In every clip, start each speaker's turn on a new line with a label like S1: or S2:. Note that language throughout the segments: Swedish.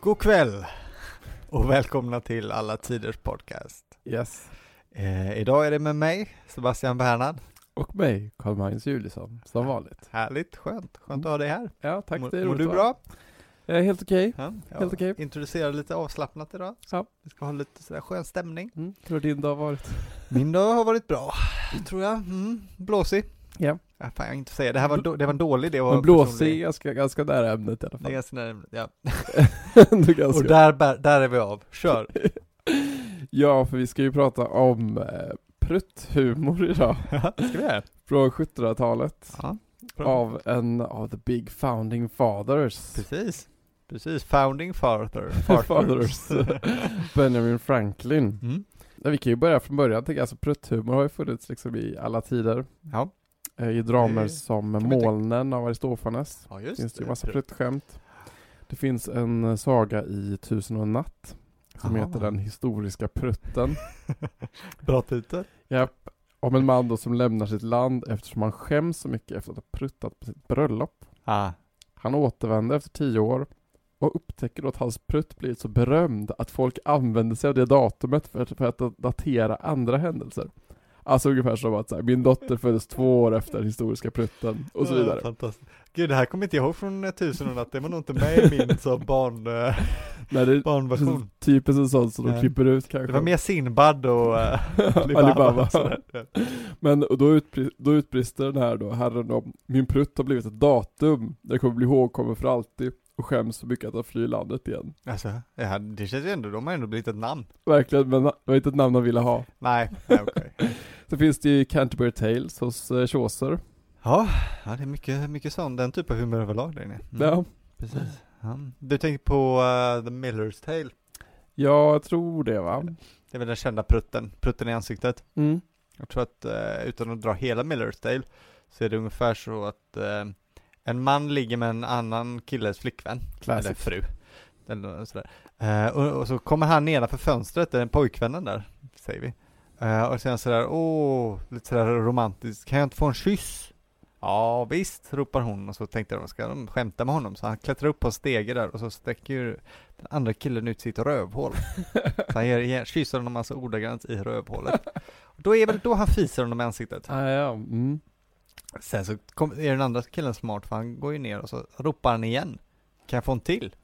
S1: God kväll och välkomna till Alla Tiders Podcast.
S2: Yes.
S1: Eh, idag är det med mig, Sebastian Bernhard.
S2: Och mig, Carl-Magnus Julisson, som vanligt.
S1: Härligt, skönt, skönt att ha dig här.
S2: Ja, tack.
S1: mår
S2: det är
S1: mår
S2: roligt
S1: du
S2: att
S1: bra?
S2: vara. Eh, helt okej.
S1: Ja, jag
S2: Helt okej.
S1: Introducerar lite avslappnat idag.
S2: Ja.
S1: Vi ska ha lite sådär skön stämning.
S2: Mm. Hur har din dag varit?
S1: Min dag har varit bra, tror jag. Mm, blåsig.
S2: Ja.
S1: Ja, fan, jag kan inte säga, det här var, då, det var en dålig idé. att vara
S2: Men blåsig är
S1: personlig.
S2: ganska, ganska nära ämnet i
S1: Det
S2: alla
S1: är
S2: fall.
S1: ganska nära- ja.
S2: Ändå ganska.
S1: Och där, bär- där är vi av, kör!
S2: Ja, för vi ska ju prata om eh, prutthumor idag.
S1: ska vi det?
S2: Från 1700-talet.
S1: Ja, bra.
S2: Av en av the big founding fathers.
S1: Precis, precis. Founding father.
S2: Fathers. Benjamin Franklin.
S1: Mm.
S2: Ja, vi kan ju börja från början. tänker jag. Alltså, prutthumor har ju funnits liksom i alla tider.
S1: Ja.
S2: Eh, I dramer
S1: Det
S2: som
S1: kan man ju
S2: Molnen av Aristofanes.
S1: ja, just
S2: finns det ju massa pruttskämt. Det finns en eh, saga i Tusen och en natt som
S1: Aha.
S2: heter Den historiska prutten.
S1: Bra titel.
S2: Japp. Om en man då som lämnar sitt land eftersom han skäms så mycket efter att ha pruttat på sitt bröllop.
S1: Ah.
S2: Han återvänder efter tio år och upptäcker då att hans prutt blivit så berömd att folk använder sig av det datumet för att, för att datera andra händelser. Alltså ungefär som att så här, min dotter föddes två år efter den historiska prutten och så vidare.
S1: Fantastiskt. Gud, det här kommer inte jag ihåg från eh, Tusen och en natt, det var nog inte med i min som barn, eh,
S2: Nej, det är
S1: barnversion.
S2: typiskt en sån som
S1: Ja.
S2: de klipper ut kanske.
S1: Det var mer Sinbad och eh, Alibaba.
S2: Mm. Alibaba.
S1: och sådär.
S2: Men och då, utbri- då utbrister den här då herren om Min prutt har blivit ett datum, jag kommer bli ihågkommen för alltid och skäms så mycket att han flyr landet igen.
S1: Alltså, ja, det känns ju ändå, de har ändå blivit ett namn.
S2: Verkligen, men det var inte ett namn han ville ha.
S1: Nej, nej, okej.
S2: Så finns det ju Canterbury Tales hos eh, Chaucer.
S1: Ja, ja, det är mycket, mycket sån, den typ av humor överlag där inne. Mm,
S2: Ja.
S1: Precis. Ja. Mm. Du tänker på eh, The Miller's Tale,
S2: ja, jag tror det va?
S1: det är väl den kända prutten, prutten i ansiktet.
S2: Mm.
S1: Jag tror att eh, utan att dra hela Miller's Tale så är det ungefär så att eh, en man ligger med en annan killes flickvän,
S2: Classic.
S1: eller fru. Eller sådär. Eh, och, och så kommer han nedanför fönstret, det är den pojkvännen där, säger vi. Eh, och sen sådär, åh, lite sådär romantiskt, kan jag inte få en kyss? Ja visst, ropar hon och så tänkte de, ska de skämta med honom? Så han klättrar upp på en stege där och så sträcker ju den andra killen ut sitt rövhål. Så han ger, ger, kysser honom alltså ordagrant i rövhålet. Då är väl då han fiser honom i ansiktet.
S2: Ah, ja, mm.
S1: Sen så kom, är den andra killen smart för han går ju ner och så ropar han igen. Kan jag få en till?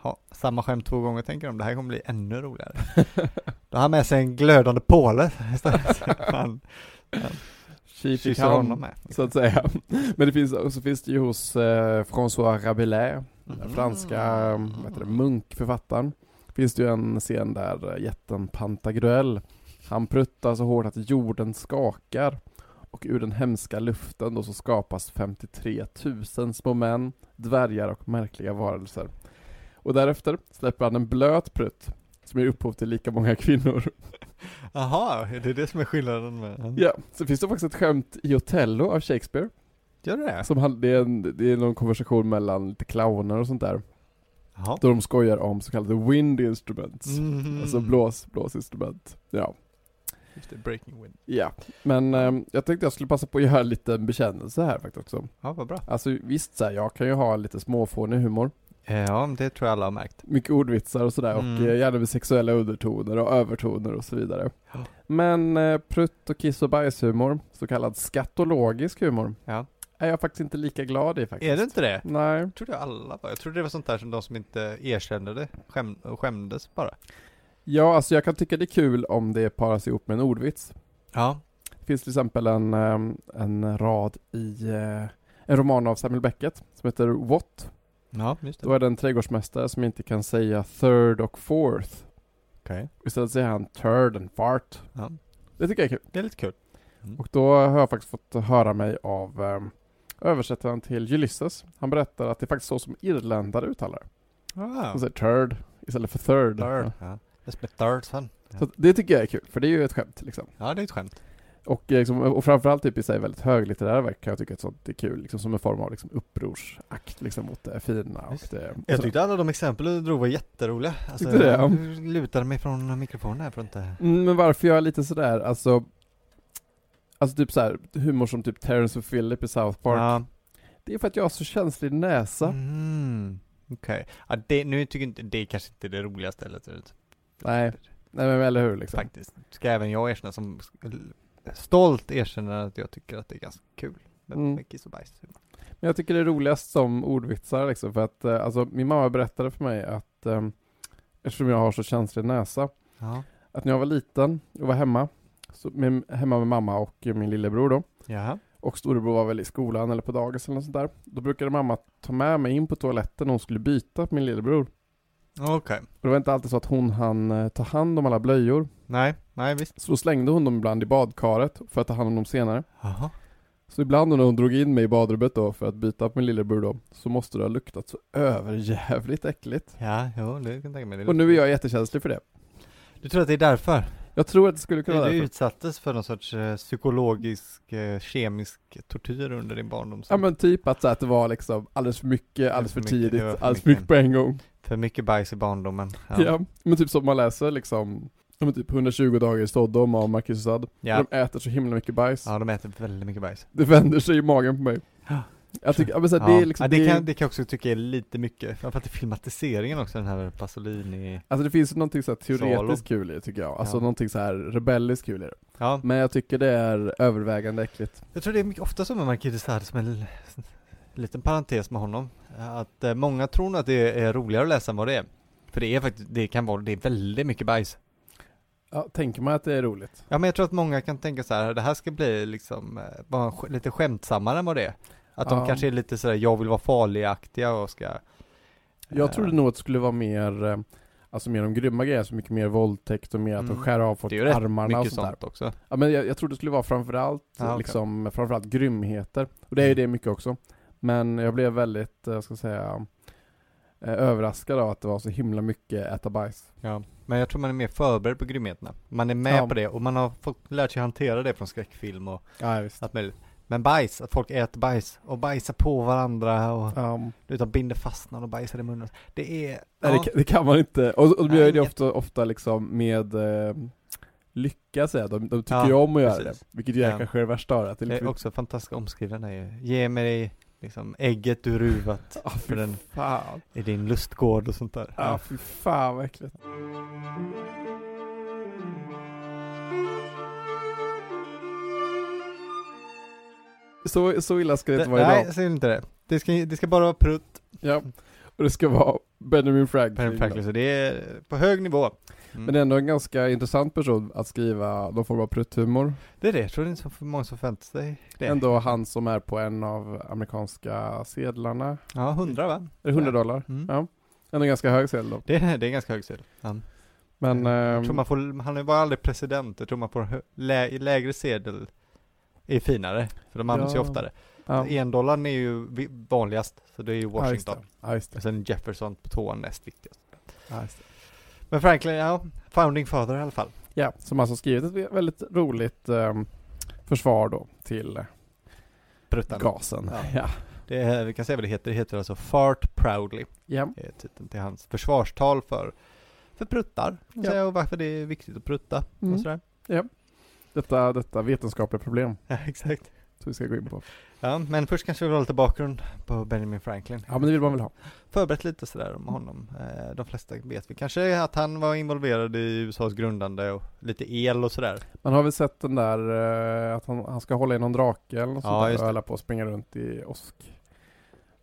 S1: Ha, samma skämt två gånger tänker de, det här kommer bli ännu roligare. Då har han med sig en glödande påle istället. Så han
S2: Chief i
S1: kysser honom
S2: honom
S1: med.
S2: så att säga. Men det finns, och så finns det ju hos eh, François Rabelais, den
S1: Mhm.
S2: franska mm. vad heter det, munkförfattaren. Finns det ju en scen där eh, jätten Pantagruel, han pruttar så hårt att jorden skakar. Och ur den hemska luften då så skapas 53 000 små män, dvärgar och märkliga varelser. Och därefter släpper han en blöt prutt som ger upphov till lika många kvinnor.
S1: Jaha, det är det som är skillnaden med...
S2: Ja, så finns det faktiskt ett skämt i Otello av Shakespeare.
S1: Gör det det?
S2: Som han, det, är en, det är någon konversation mellan lite clowner och sånt där.
S1: Jaha.
S2: Då de skojar om så kallade wind instruments.
S1: Mm.
S2: Alltså blås, blåsinstrument. Ja.
S1: Just det, breaking wind.
S2: ja. Men ehm, jag tänkte jag skulle passa på att göra en liten bekännelse här faktiskt också.
S1: Ja, vad bra.
S2: Alltså visst så här, jag kan ju ha lite småfånig humor.
S1: Eh, Ja, det tror jag alla har märkt.
S2: Mycket ordvitsar och sådär och
S1: Mm.
S2: eh, gärna med sexuella undertoner och övertoner och så vidare.
S1: Ja.
S2: Men eh, prutt och kiss och bajshumor, så kallad skatologisk humor,
S1: Ja.
S2: är jag faktiskt inte lika glad i faktiskt.
S1: Är det inte det?
S2: Nej.
S1: Jag trodde alla var. Jag trodde det var sånt där som de som inte erkände det skäm, skämdes bara.
S2: Ja, alltså jag kan tycka det är kul om det paras ihop med en ordvits.
S1: Ja.
S2: Det finns till exempel en, eh, en rad i eh, en roman av Samuel Beckett som heter What.
S1: Ja, just
S2: Då är det en trädgårdsmästare som inte kan säga third och fourth.
S1: Okej.
S2: Istället säger han third and fart.
S1: Ja.
S2: Det tycker jag är kul.
S1: Det är lite kul.
S2: Och då har jag faktiskt fått höra mig av eh, översättaren till Ulysses. Han berättar att det är faktiskt så som irländare uttalar. Han
S1: Ah. Alltså,
S2: säger third istället för third.
S1: Third. Ja. Det är som ett third son.
S2: Så att det tycker jag är kul, för det är ju ett skämt liksom.
S1: Ja, det är ett skämt.
S2: Och, eh, liksom, och framförallt typ i sig väldigt höglitterära verk kan jag tycka att sånt är kul, liksom, som en form av liksom, upprorsakt liksom, mot det fina. Och det,
S1: Jag
S2: så-
S1: tyckte alla de exempel du drog var jätteroliga. Alltså,
S2: Tyckte det, ja.
S1: jag lutade mig från mikrofonen här för att inte...
S2: Mm, Men varför jag är lite sådär, alltså Alltså typ såhär, humor som typ Terrence och Philip i South Park.
S1: Ja.
S2: Det är för att jag har så känslig näsa.
S1: Mm. Okej. Ja, det, nu tycker jag inte, det är kanske inte det roligaste stället ut.
S2: Nej. Nej men eller hur liksom.
S1: Faktiskt. Ska även jag erkänna som stolt erkänna att jag tycker att det är ganska kul med
S2: Mm.
S1: mm. kiss och bajs.
S2: Men jag tycker det är roligast som ordvitsar liksom, för att eh, alltså min mamma berättade för mig att eh, eftersom jag har så känslig näsa,
S1: Ja.
S2: att när jag var liten och var hemma, så, med, hemma med mamma och eh, min lillebror då,
S1: Jaha.
S2: och storebror var väl i skolan eller på dagis eller något sånt där. Då brukade mamma ta med mig in på toaletten och hon skulle byta på min lillebror.
S1: Okej.
S2: Och det var inte alltid så att hon hann eh, ta hand om alla blöjor.
S1: Nej, nej visst.
S2: Så då slängde hon dem ibland i badkaret för att ta hand om dem senare.
S1: Jaha.
S2: Så ibland när hon drog in mig i badrummet då för att byta på min lillebror då, så måste det ha luktat så överjävligt äckligt.
S1: Ja, jo, det kan jag tänka mig. Det
S2: Och nu är jag jättekänslig för det.
S1: Du tror att det är därför?
S2: Jag tror att det skulle
S1: Du,
S2: kunna vara därför.
S1: utsattes för någon sorts eh, psykologisk, eh, kemisk tortyr under din barndom?
S2: Ja men typ att, så här, att det var liksom alldeles för mycket, alldeles för
S1: för mycket,
S2: tidigt,
S1: det var för
S2: alldeles för mycket
S1: mycket.
S2: på en gång.
S1: För mycket bajs i barndomen.
S2: Ja. Men typ som man läser liksom, ja, men typ 120 dagar i Stodom av Marcus Sad.
S1: Ja.
S2: De äter så himla mycket bajs.
S1: Ja, de äter väldigt mycket bajs.
S2: Det vänder sig i magen på mig.
S1: Ja.
S2: Jag tycker, ja, men så här,
S1: ja.
S2: det är liksom,
S1: ja, det,
S2: det är-
S1: kan, det kan jag också tycka är lite mycket. Framförallt i filmatiseringen också, den här Pasolini.
S2: Alltså det finns någonting så här teoretiskt
S1: Salo.
S2: kul i det, tycker jag, alltså
S1: Ja.
S2: någonting så här rebelliskt kul i det.
S1: Ja,
S2: Men jag tycker det är övervägande äckligt.
S1: jag tror det är mycket ofta så med Marquis de Sade som en l- liten parentes med honom. Att eh, många tror nog att det är roligare att läsa än vad det är. För det är faktiskt, det kan vara, det är väldigt mycket bajs.
S2: Ja, tänker man att det är roligt?
S1: Ja men jag tror att många kan tänka så här, det här ska bli liksom eh, bara en sk- lite skämtsammare än vad det är. Att
S2: Ja.
S1: de kanske är lite sådär, jag vill vara farligaktiga och ska...
S2: Jag
S1: eh,
S2: trodde nog att det skulle vara mer, eh, alltså mer de grymma grejerna, så mycket mer våldtäkt och mer att de
S1: Mm.
S2: skär av folk
S1: Det är ju rätt
S2: armarna och
S1: Mycket
S2: sånt där.
S1: sånt också.
S2: Ja, men jag, jag trodde det skulle vara framförallt,
S1: Ja, okej. Mm.
S2: liksom, framförallt grymheter. Och det är ju det mycket också. Men jag blev väldigt, eh, jag ska säga, eh, överraskad av att det var så himla mycket äta bajs.
S1: Ja. Men jag tror man är mer förberedd på grymheterna. Man är med
S2: Ja.
S1: på det och man har fått lärt sig hantera det från skräckfilm och
S2: Ja, visst.
S1: allt möjligt. Men bajs, att folk äter bajs och bajsar på varandra och
S2: Um,
S1: utan binder fast när de bajsar i munnen. Det är...
S2: Nej,
S1: ja.
S2: det, kan- det kan man inte. Och, och de
S1: Nej,
S2: gör ju det
S1: jag-
S2: ofta, ofta liksom med eh, lycka, säger jag. de, de tycker
S1: Ja,
S2: ju om att göra
S1: precis.
S2: det. Vilket ju är
S1: Ja.
S2: kanske det värsta av det. att det. är
S1: Det är
S2: liksom-
S1: också fantastiskt omskrivande ju. Ge mig liksom ägget du ruvat
S2: Ah,
S1: för
S2: fy
S1: den
S2: fan.
S1: i din lustgård och sånt där.
S2: Ah, fy fan vad äckligt. Så, så illa ska det inte vara
S1: nej,
S2: idag.
S1: säg inte det. Det ska, det ska bara vara prutt,
S2: Ja. Och det ska vara Benjamin Franklin.
S1: Perry Franklin, så det är på hög nivå. Mm.
S2: Men det är ändå en ganska intressant person att skriva någon form av prutthumor.
S1: det är det, jag tror det är inte så för många som förväntar sig det.
S2: Ändå han som är på en av amerikanska sedlarna.
S1: Ja, hundra va?
S2: Är det 100 dollar?
S1: Mm.
S2: Ja. Ändå ganska hög sedel då.
S1: Det, är- det är ganska hög sedel. Ja.
S2: Men
S1: Jag tror
S2: ehm,
S1: man får, han var aldrig president, jag tror man får hö- lä, lägre sedel är finare, för de används
S2: Ja.
S1: ju oftare.
S2: ja.
S1: Endollarn är ju vi- vanligast, så det är ju
S2: Ja, just det.
S1: Washington.
S2: Ja, just det.
S1: Och sen Jefferson på tvåan näst viktigast.
S2: Ja, just det.
S1: Men Franklin, ja, founding father i alla fall.
S2: Ja, som alltså skrivit ett väldigt roligt ehm, försvar då till
S1: Pruttan.
S2: gasen.
S1: Ja.
S2: Ja.
S1: Det är, vi kan säga vad det heter, det heter alltså Fart Proudly.
S2: Ja.
S1: är titeln till hans försvarstal för, för pruttar. kan
S2: Ja.
S1: säga, Och varför det är viktigt att prutta
S2: Mm.
S1: och sådär.
S2: Detta, detta vetenskapliga problem
S1: Ja, exakt.
S2: som vi ska gå in på.
S1: Ja, men först kanske vi vill ha lite bakgrund på Benjamin Franklin.
S2: Ja men det vill man väl ha?
S1: Förberett lite sådär om honom. Eh, De flesta vet vi kanske att han var involverad i USAs grundande och lite el och sådär.
S2: Man har väl sett den där eh, att han, han ska hålla i någon drake eller något
S1: Ja,
S2: sånt där
S1: just
S2: och
S1: det.
S2: hålla på och springa runt i åsk.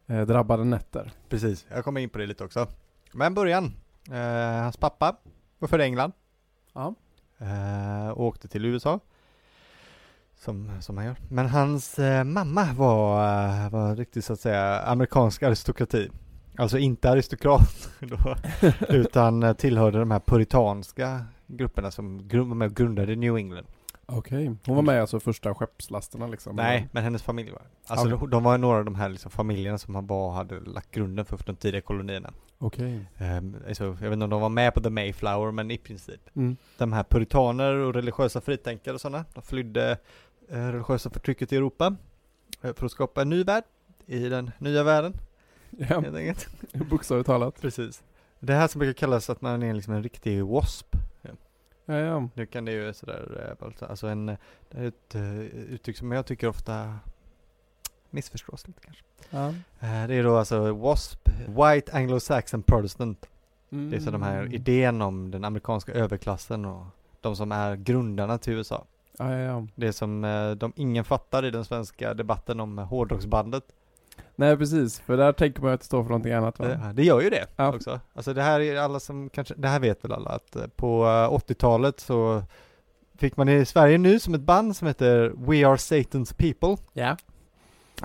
S2: Eh, drabbade nätter.
S1: Precis, jag kommer in på det lite också. Men början. Eh, hans pappa var född i England.
S2: Ja.
S1: Eh, och åkte till USA. Som, som han gör. Men hans eh, mamma var, eh, var riktigt så att säga amerikansk aristokrati. Alltså inte aristokrat då, utan eh, tillhörde de här puritanska grupperna som grund, var med och grundade New England.
S2: Okej. Hon var med alltså i första skeppslasterna liksom?
S1: Nej, men hennes familj var Alltså
S2: Okej.
S1: de- de var några av de här liksom familjerna som han bara hade lagt grunden för, för de tidiga kolonierna.
S2: Okej.
S1: Ehm, alltså, jag vet inte om de var med på The Mayflower, men i princip.
S2: Mm.
S1: De här puritaner och religiösa fritänkare och sådana, de flydde eh, religiösa förtrycket i Europa eh, för att skapa en ny värld i den nya världen,
S2: Ja,
S1: helt enkelt.
S2: bokstavligt talat.
S1: Precis. Det här som brukar kallas att man är liksom en riktig wasp.
S2: Ja, ja.
S1: Nu kan det ju sådär, eh, alltså en, det här är ett eh, uttryck som jag tycker ofta missförstås lite kanske.
S2: ja.
S1: Eh, Det är då alltså WASP, White Anglo-Saxon Protestant.
S2: Mm.
S1: Det är så de här idén om den amerikanska överklassen och de som är grundarna till USA.
S2: Ja, ja, ja.
S1: Det som eh, de ingen fattar i den svenska debatten om hårdrocksbandet.
S2: Nej, precis. För där tänker man ju att det står för någonting annat va?
S1: Det, det gör ju det
S2: Ja.
S1: också. Alltså det här är alla som kanske, det här vet väl alla att eh, på eh, 80-talet så fick man i Sverige nu som ett band som heter We Are Satan's People.
S2: Ja.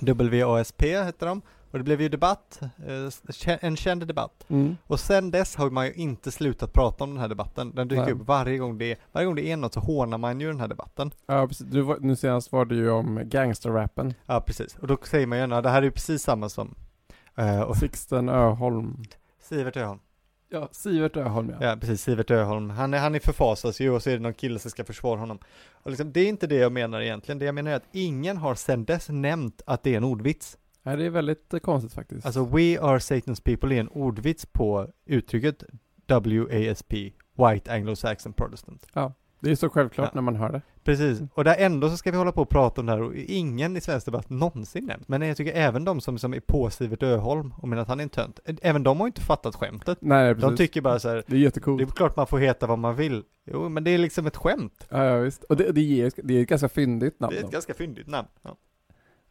S1: WASP hette de. Och det blev ju debatt, eh, kä- en känd debatt.
S2: Mm.
S1: Och sen dess har man ju inte slutat prata om den här debatten. Den dyker
S2: Nej.
S1: upp varje gång, det, varje gång det är något så hånar man ju den här debatten.
S2: Ja, precis. Du, var- nu senast var det ju om gangsterrappen.
S1: Ja, precis. Och då säger man ju gärna, det här är ju precis samma som eh, och
S2: Sixten Öholm.
S1: Sivert Öholm.
S2: Ja, Sivert Öholm ja.
S1: Ja, precis. Sivert Öholm. Han, är, han är förfasas ju och så är det någon kille som ska försvara honom. Och liksom, det är inte det jag menar egentligen. Det jag menar är att ingen har sedan dess nämnt att det är en ordvits.
S2: Nej, det är väldigt eh, konstigt faktiskt.
S1: Alltså, We Are Satan's People är en ordvits på uttrycket WASP, White Anglo-Saxon Protestant.
S2: det är så självklart
S1: Ja.
S2: när man hör det.
S1: Precis, och där ändå så ska vi hålla på och prata om det här och ingen i svensk debatt någonsin nämnt. Men jag tycker även de som, som är på Sivert Öholm och menar att han är en tönt, även de har ju inte fattat skämtet.
S2: Nej, precis.
S1: De tycker bara så här,
S2: det är jättecoolt.
S1: det är klart man får heta vad man vill. Jo, men det är liksom ett skämt.
S2: Ja, ja, visst. Och det, det, ger, det är ett ganska fyndigt namn.
S1: Det är ett
S2: då.
S1: ganska fyndigt namn. Ja,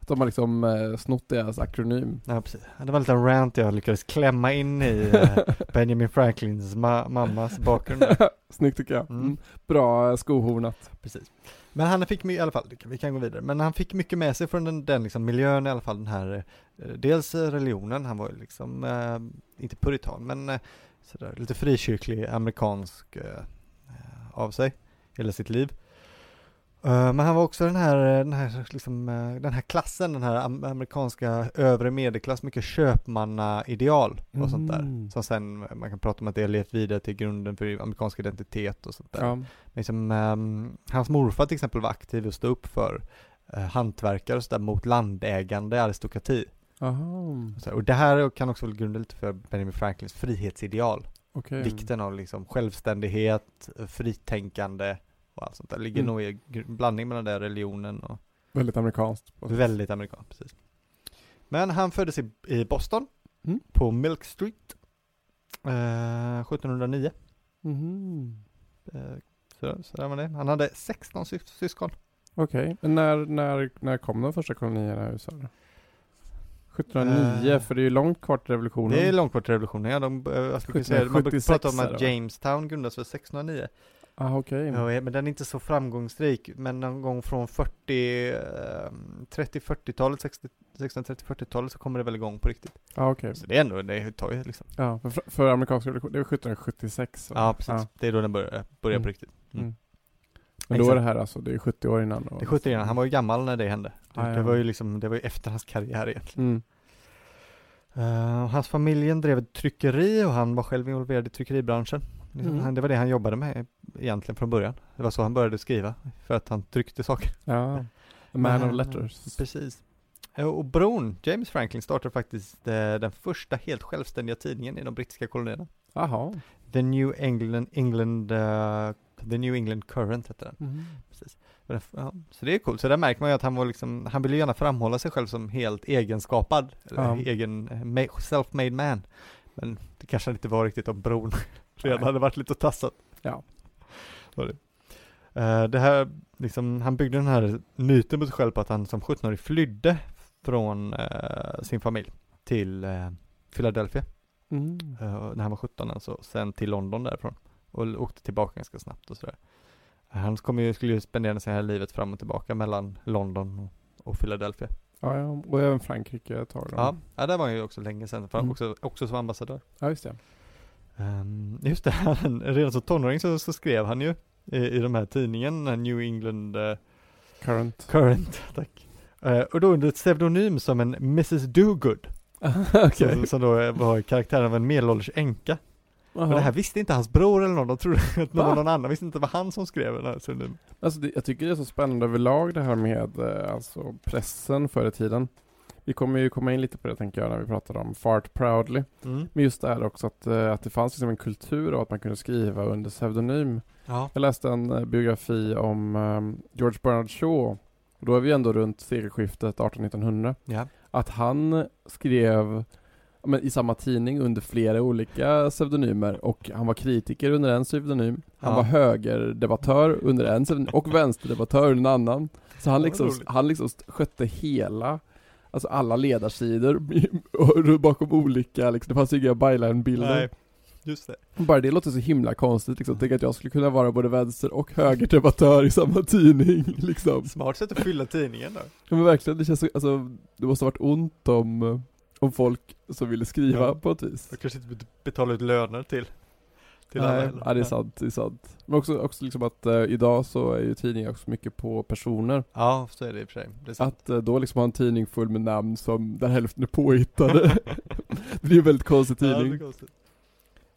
S2: Att de har liksom eh, snott deras akronym.
S1: ja precis. Det var en liten rant jag lyckades klämma in i eh, Benjamin Franklins ma- mammas bakgrund. där.
S2: Snyggt tycker jag.
S1: Mm.
S2: Mm. Bra eh, skohornat.
S1: Precis. Men han fick my- i alla fall, det kan- vi kan gå vidare, men han fick mycket med sig från den, den liksom miljön i alla fall, den här, eh, dels eh, religionen, han var ju liksom, eh, inte puritan, men eh, sådär, lite frikyrklig amerikansk eh, eh, av sig, hela sitt liv. Eh, men han var också den här, eh, den här, liksom, eh, den här klassen, den här am- amerikanska övre medelklass, mycket köpmanna-ideal och sånt där.
S2: Mm.
S1: Som sen, eh, man kan prata om att det har levt vidare till grunden för amerikansk identitet och sånt där
S2: Ja.
S1: liksom, ehm, hans morfar till exempel var aktiv och stod upp för eh, hantverkare och sådär mot landägande aristokrati.
S2: Aha.
S1: Och, så här, och det här kan också väl grunda lite för Benjamin Franklins frihetsideal.
S2: Okej.
S1: Vikten av liksom självständighet, eh, fritänkande och allt sånt där. Ligger
S2: Mm.
S1: nog i gr- blandning mellan den där religionen och
S2: Väldigt amerikanskt. på något sätt.
S1: Väldigt amerikan, precis. Men han föddes i, i Boston,
S2: Mm.
S1: på Milk Street, eh, 1709.
S2: Mhm.
S1: Eh, så, så där var det. Han hade 16 sys- syskon.
S2: Okej. Men när, när, när kom de första kolonierna i USA? då? 1709,
S1: Eh.
S2: för det är ju långt kvar till revolutionen.
S1: Det är långt bort till revolutionen, ja. De, eh, jag skulle säga, man brukar
S2: 1776
S1: prata om
S2: är
S1: att
S2: det, va?
S1: Jamestown grundades för 1609.
S2: ah, okej.
S1: Ja, eh, men den är inte så framgångsrik, men någon gång från 40, eh, 30-40-talet, 60 1630-40-talet så kommer det väl igång på riktigt.
S2: Ah, okej.
S1: Så det är ändå, det tar ju liksom.
S2: Ja, för, för amerikanska revolutionen, det var 1776. va?
S1: Ja, precis. Det är då den börjar, börjar
S2: Mm.
S1: på riktigt.
S2: Men då är det
S1: Exakt.
S2: här alltså, det är 70 år innan. då.
S1: Det är 70 han var ju gammal när det hände. Det,
S2: Ah, ja.
S1: det var ju liksom, det var ju efter hans karriär egentligen.
S2: Mm.
S1: Eh, och hans familjen drev ett tryckeri och han var själv involverad i tryckeribranschen. Liksom,
S2: Mm.
S1: han, det var det han jobbade med egentligen från början. Det var så han började skriva, för att han tryckte saker.
S2: Ja. A
S1: Men-
S2: man of letters.
S1: Precis. Eh, Och bron, James Franklin, startade faktiskt eh, den första helt självständiga tidningen i de brittiska kolonierna.
S2: Jaha.
S1: The New England, England, eh, The New England Current hette den. Precis. Men den f- Ja, så det är coolt. Så där märker man ju att han var liksom, han ville gärna framhålla sig själv som helt egenskapad, eller
S2: Ja.
S1: egen, eh, ma- self-made man. Men det kanske han inte var riktigt om bron redan
S2: Nej.
S1: hade varit lite och tassat.
S2: Ja.
S1: Var det. Eh, det här, liksom, han byggde den här myten på sig själv på att han som 17-årig flydde från eh, sin familj till eh, Philadelphia,
S2: Mm.
S1: eh, när han var 17 alltså, och sen till London därifrån. Och l- åkte tillbaka ganska snabbt och sådär. Han kommer ju, skulle ju spendera sig här livet fram och tillbaka mellan London och, och Philadelphia.
S2: Ja, ja, och även Frankrike tar de.
S1: Ja, ja där var han ju också länge sedan, för han
S2: Mm.
S1: också, också som ambassadör.
S2: ja, just det.
S1: Ehm, just det, han, redan som tonåring så, så skrev han ju i, i de här tidningen, den här New England eh,
S2: Current.
S1: Current, tack. Eh, och då under ett pseudonym som en Mrs Dogood,
S2: Okej.
S1: som, som då eh, var karaktären av en medelålders änka. Men det
S2: Jaha.
S1: här visste inte hans bror eller någon, de trodde att det
S2: Va?
S1: var någon annan, visste inte att det var han som skrev den här pseudonymen.
S2: Alltså, det, jag tycker det är så spännande överlag det här med eh, alltså, pressen förr i tiden. Vi kommer ju komma in lite på det tänker jag när vi pratar om Fart Proudly.
S1: Mm.
S2: Men just det här också att, eh, att det fanns liksom en kultur av att man kunde skriva under pseudonym.
S1: Ja.
S2: Jag läste en eh, biografi om eh, George Bernard Shaw. Och då är vi ändå runt sekelskiftet 1800-1900.
S1: Ja.
S2: Att han skrev ja, men, i samma tidning under flera olika pseudonymer och han var kritiker under en pseudonym. Han
S1: Ja.
S2: var högerdebattör under en pseudonym och vänsterdebattör under en annan. Så
S1: Ja,
S2: han
S1: vad
S2: liksom,
S1: roligt.
S2: han liksom skötte hela Alltså alla ledarsidor och bakom olika, liksom. det fanns ju inga byline-bilder.
S1: Nej, just det.
S2: Bara det låter så himla konstigt liksom, tänk att jag skulle kunna vara både vänster och högerdebattör i samma tidning liksom.
S1: Smart sätt att fylla tidningen då.
S2: Ja men verkligen, det känns så, alltså, det måste ha varit ont om, eh, om folk som ville skriva
S1: Ja.
S2: på ett vis.
S1: De kanske inte bet- betalar ut löner till, till alla
S2: Nej,
S1: heller.
S2: ja, det är sant, det är sant. Men också, också liksom att eh, idag så är ju tidningar också mycket på personer.
S1: Ja, så är det i och för sig. Det är sant.
S2: Att eh, då liksom ha en tidning full med namn som där hälften är påhittade. det blir ju en väldigt konstig
S1: Ja, det, är
S2: tidning.
S1: konstigt.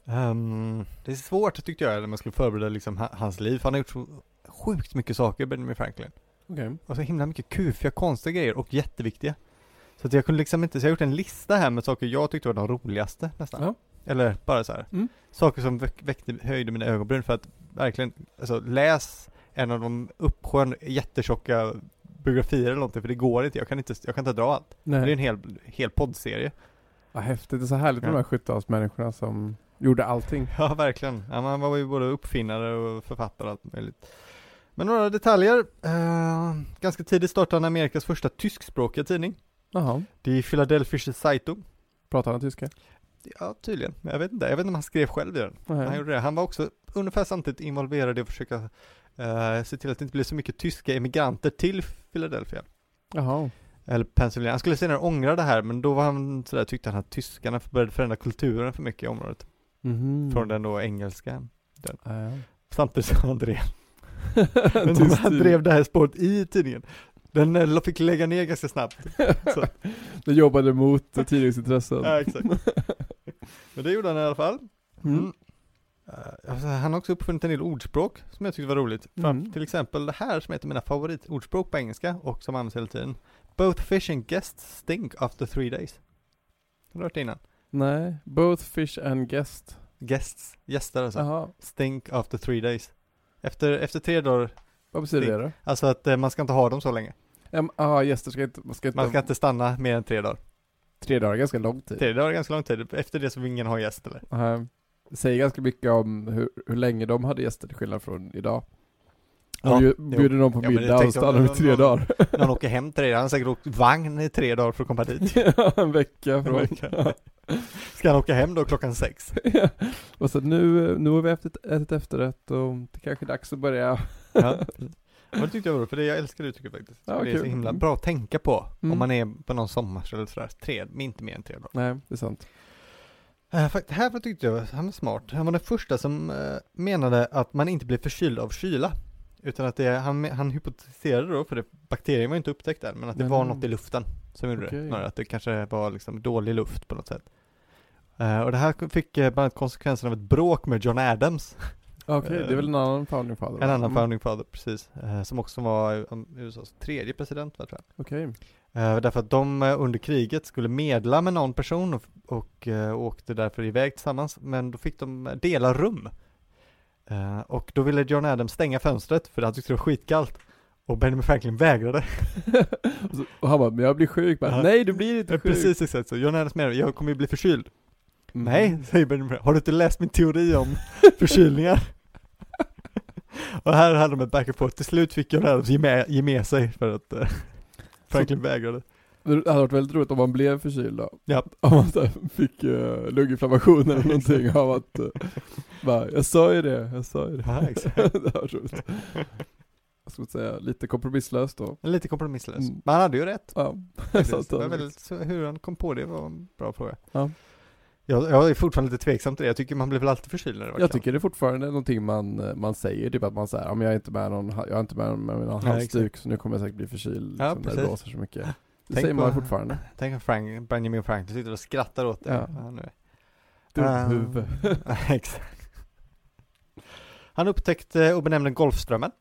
S1: Ehm, det är svårt tyckte jag när man skulle förbereda liksom ha- hans liv, för han har gjort så sjukt mycket saker Benjamin Franklin.
S2: Okej.
S1: Och så himla mycket kufiga, konstiga grejer och jätteviktiga. Så att jag kunde liksom inte, så jag har gjort en lista här med saker jag tyckte var de roligaste nästan.
S2: Ja.
S1: Eller bara så här.
S2: Mm.
S1: Saker som väck, väckte, höjde mina ögonbryn för att verkligen, alltså läs en av de uppsjön jättetjocka biografier eller någonting, för det går inte, jag kan inte, jag kan inte dra allt. Det är en
S2: Nej.
S1: hel, hel poddserie.
S2: Ja, häftigt, det är så härligt med
S1: Ja.
S2: de här 70-talsmänniskorna som gjorde allting.
S1: Ja, verkligen. Ja, man var ju både uppfinnare och författare och allt möjligt. Men några detaljer. Eh, ganska tidigt startade han Amerikas första tyskspråkiga tidning.
S2: Jaha,
S1: Det är Philadelphische Zeitung.
S2: pratar han tyska?
S1: Ja, tydligen. Jag vet inte. Jag vet inte om han skrev själv i den.
S2: Nej.
S1: Han gjorde det. Han var också ungefär samtidigt involverad i att försöka eh, se till att det inte blev så mycket tyska emigranter till Philadelphia.
S2: Jaha.
S1: Eller Pennsylvania. Han skulle senare ångra det här, men då var han sådär, tyckte han att tyskarna började förändra kulturen för mycket i området.
S2: Mhm.
S1: Från den då engelska.
S2: Ja, ja.
S1: Samtidigt som han drev Men
S2: Tyst
S1: han
S2: tidning.
S1: drev det här spåret i tidningen. Den eh, fick lägga ner ganska snabbt. Så.
S2: Den jobbade mot eh, tidningsintressen.
S1: Ja, exakt. Men det gjorde han i alla fall.
S2: Mm.
S1: Eh, alltså, Han har också uppfunnit en del ordspråk som jag tyckte var roligt. Fram,
S2: Mm.
S1: Till exempel det här som heter mina favoritordspråk på engelska och som används hela tiden. Both fish and guests stink after three days. Har du hört det innan?
S2: Nej, both fish and guest.
S1: Guests, gäster alltså.
S2: Jaha,
S1: Stink after three days. Efter, efter tre dagar,
S2: vad betyder det då?
S1: alltså att eh, man ska inte ha dem så länge.
S2: Ja, ah, gäster ska inte, man ska inte,
S1: Man ska inte stanna mer än tre dagar.
S2: tre dagar, är ganska lång tid.
S1: Tre dagar är ganska lång tid, efter det så vill ingen ha gäst eller?
S2: Nej. Det säger ganska mycket om hur, hur länge de hade gäster till skillnad från idag. De
S1: Ja,
S2: bjud- bjuder någon på
S1: Ja, men det
S2: middag och
S1: tänkte jag-
S2: stannar i tre
S1: någon-
S2: dagar.
S1: Någon åker hem till dig, han har säkert åkt vagn i tre dagar för att komma dit.
S2: Ja, en vecka från.
S1: Ska han åka hem då klockan sex?
S2: Ja. och så nu, nu har vi ätit, ätit efterrätt och det kanske är dags att börja.
S1: Ja. Och det tyckte jag var roligt, för det jag älskar det uttrycket faktiskt.
S2: Ja,
S1: det är så
S2: kul.
S1: himla bra att tänka på
S2: Mm.
S1: om man är på någon sommar eller sådär, tre, inte mer än tre dagar.
S2: Nej, det är sant.
S1: Eh, fakt- Det här var- tyckte jag var- han var smart. Han var den första som eh, menade att man inte blir förkyld av kyla. Utan att det, han, han hypotetiserade då, för det, bakterien var ju inte upptäckt än, men att det
S2: Men-
S1: var något i luften som gjorde
S2: Okej.
S1: det. Snarare att det kanske var liksom dålig luft på något sätt. Eh, och det här fick eh, bland annat konsekvensen av ett bråk med John Adams,
S2: Okej, det är väl en annan founding father? va?
S1: Eh, en annan
S2: Mm.
S1: founding father, precis, eh, som också var eh, USAs tredje president, va, tror jag.
S2: Okej.
S1: Eh, Därför att de eh, under kriget skulle medla med någon person och, och eh, åkte därför iväg tillsammans, men då fick de eh, dela rum. Eh, Och då ville John Adams stänga fönstret för han tyckte det var skitkallt. Och Benjamin Franklin vägrade.
S2: Och så- Och han bara, men jag blir sjuk. Bara,
S1: Ja.
S2: Nej, du blir inte
S1: Eh,
S2: sjuk.
S1: Precis exakt så. John Adams menade, jag kommer ju bli förkyld.
S2: Mm.
S1: Nej, säger Benjamin Franklin, har du inte läst min teori om förkylningar? och här hade de ett back and forth. Till slut fick John Adams ge med, ge med sig för att eh, Franklin vägrade.
S2: Det hade varit väldigt roligt om man blev förkyld då.
S1: Ja.
S2: Om man så här fick eh, lunginflammation eller någonting av att, eh, bara, jag sa ju det, jag sa ju det.
S1: Ja, exakt.
S2: det var roligt. Jag skulle säga lite kompromisslöst då.
S1: Lite kompromisslös.
S2: Mm.
S1: Men han hade ju rätt.
S2: Ja,
S1: Precis.
S2: så att eh,
S1: Det var
S2: han-
S1: väldigt, så hur han kom på det var en bra fråga.
S2: Ja.
S1: Jag, jag är fortfarande lite tveksam till det. Jag tycker man blir väl alltid förkyld när det var
S2: Jag
S1: kallt.
S2: tycker det är fortfarande någonting man, man säger, typ att man säger ja men jag är inte med någon, jag är inte med med någon
S1: Nej,
S2: halsduk så nu kommer jag säkert bli förkyld
S1: Ja,
S2: liksom, när det
S1: precis.
S2: blåser så mycket. Det
S1: Tänk
S2: säger man
S1: på-
S2: fortfarande.
S1: Tänk om Frank, Benjamin Franklin sitter och skrattar åt det.
S2: Ja.
S1: Ja, nu. Ah.
S2: Dumhuvud.
S1: Eh, Exakt. Han upptäckte och benämnde Golfströmmen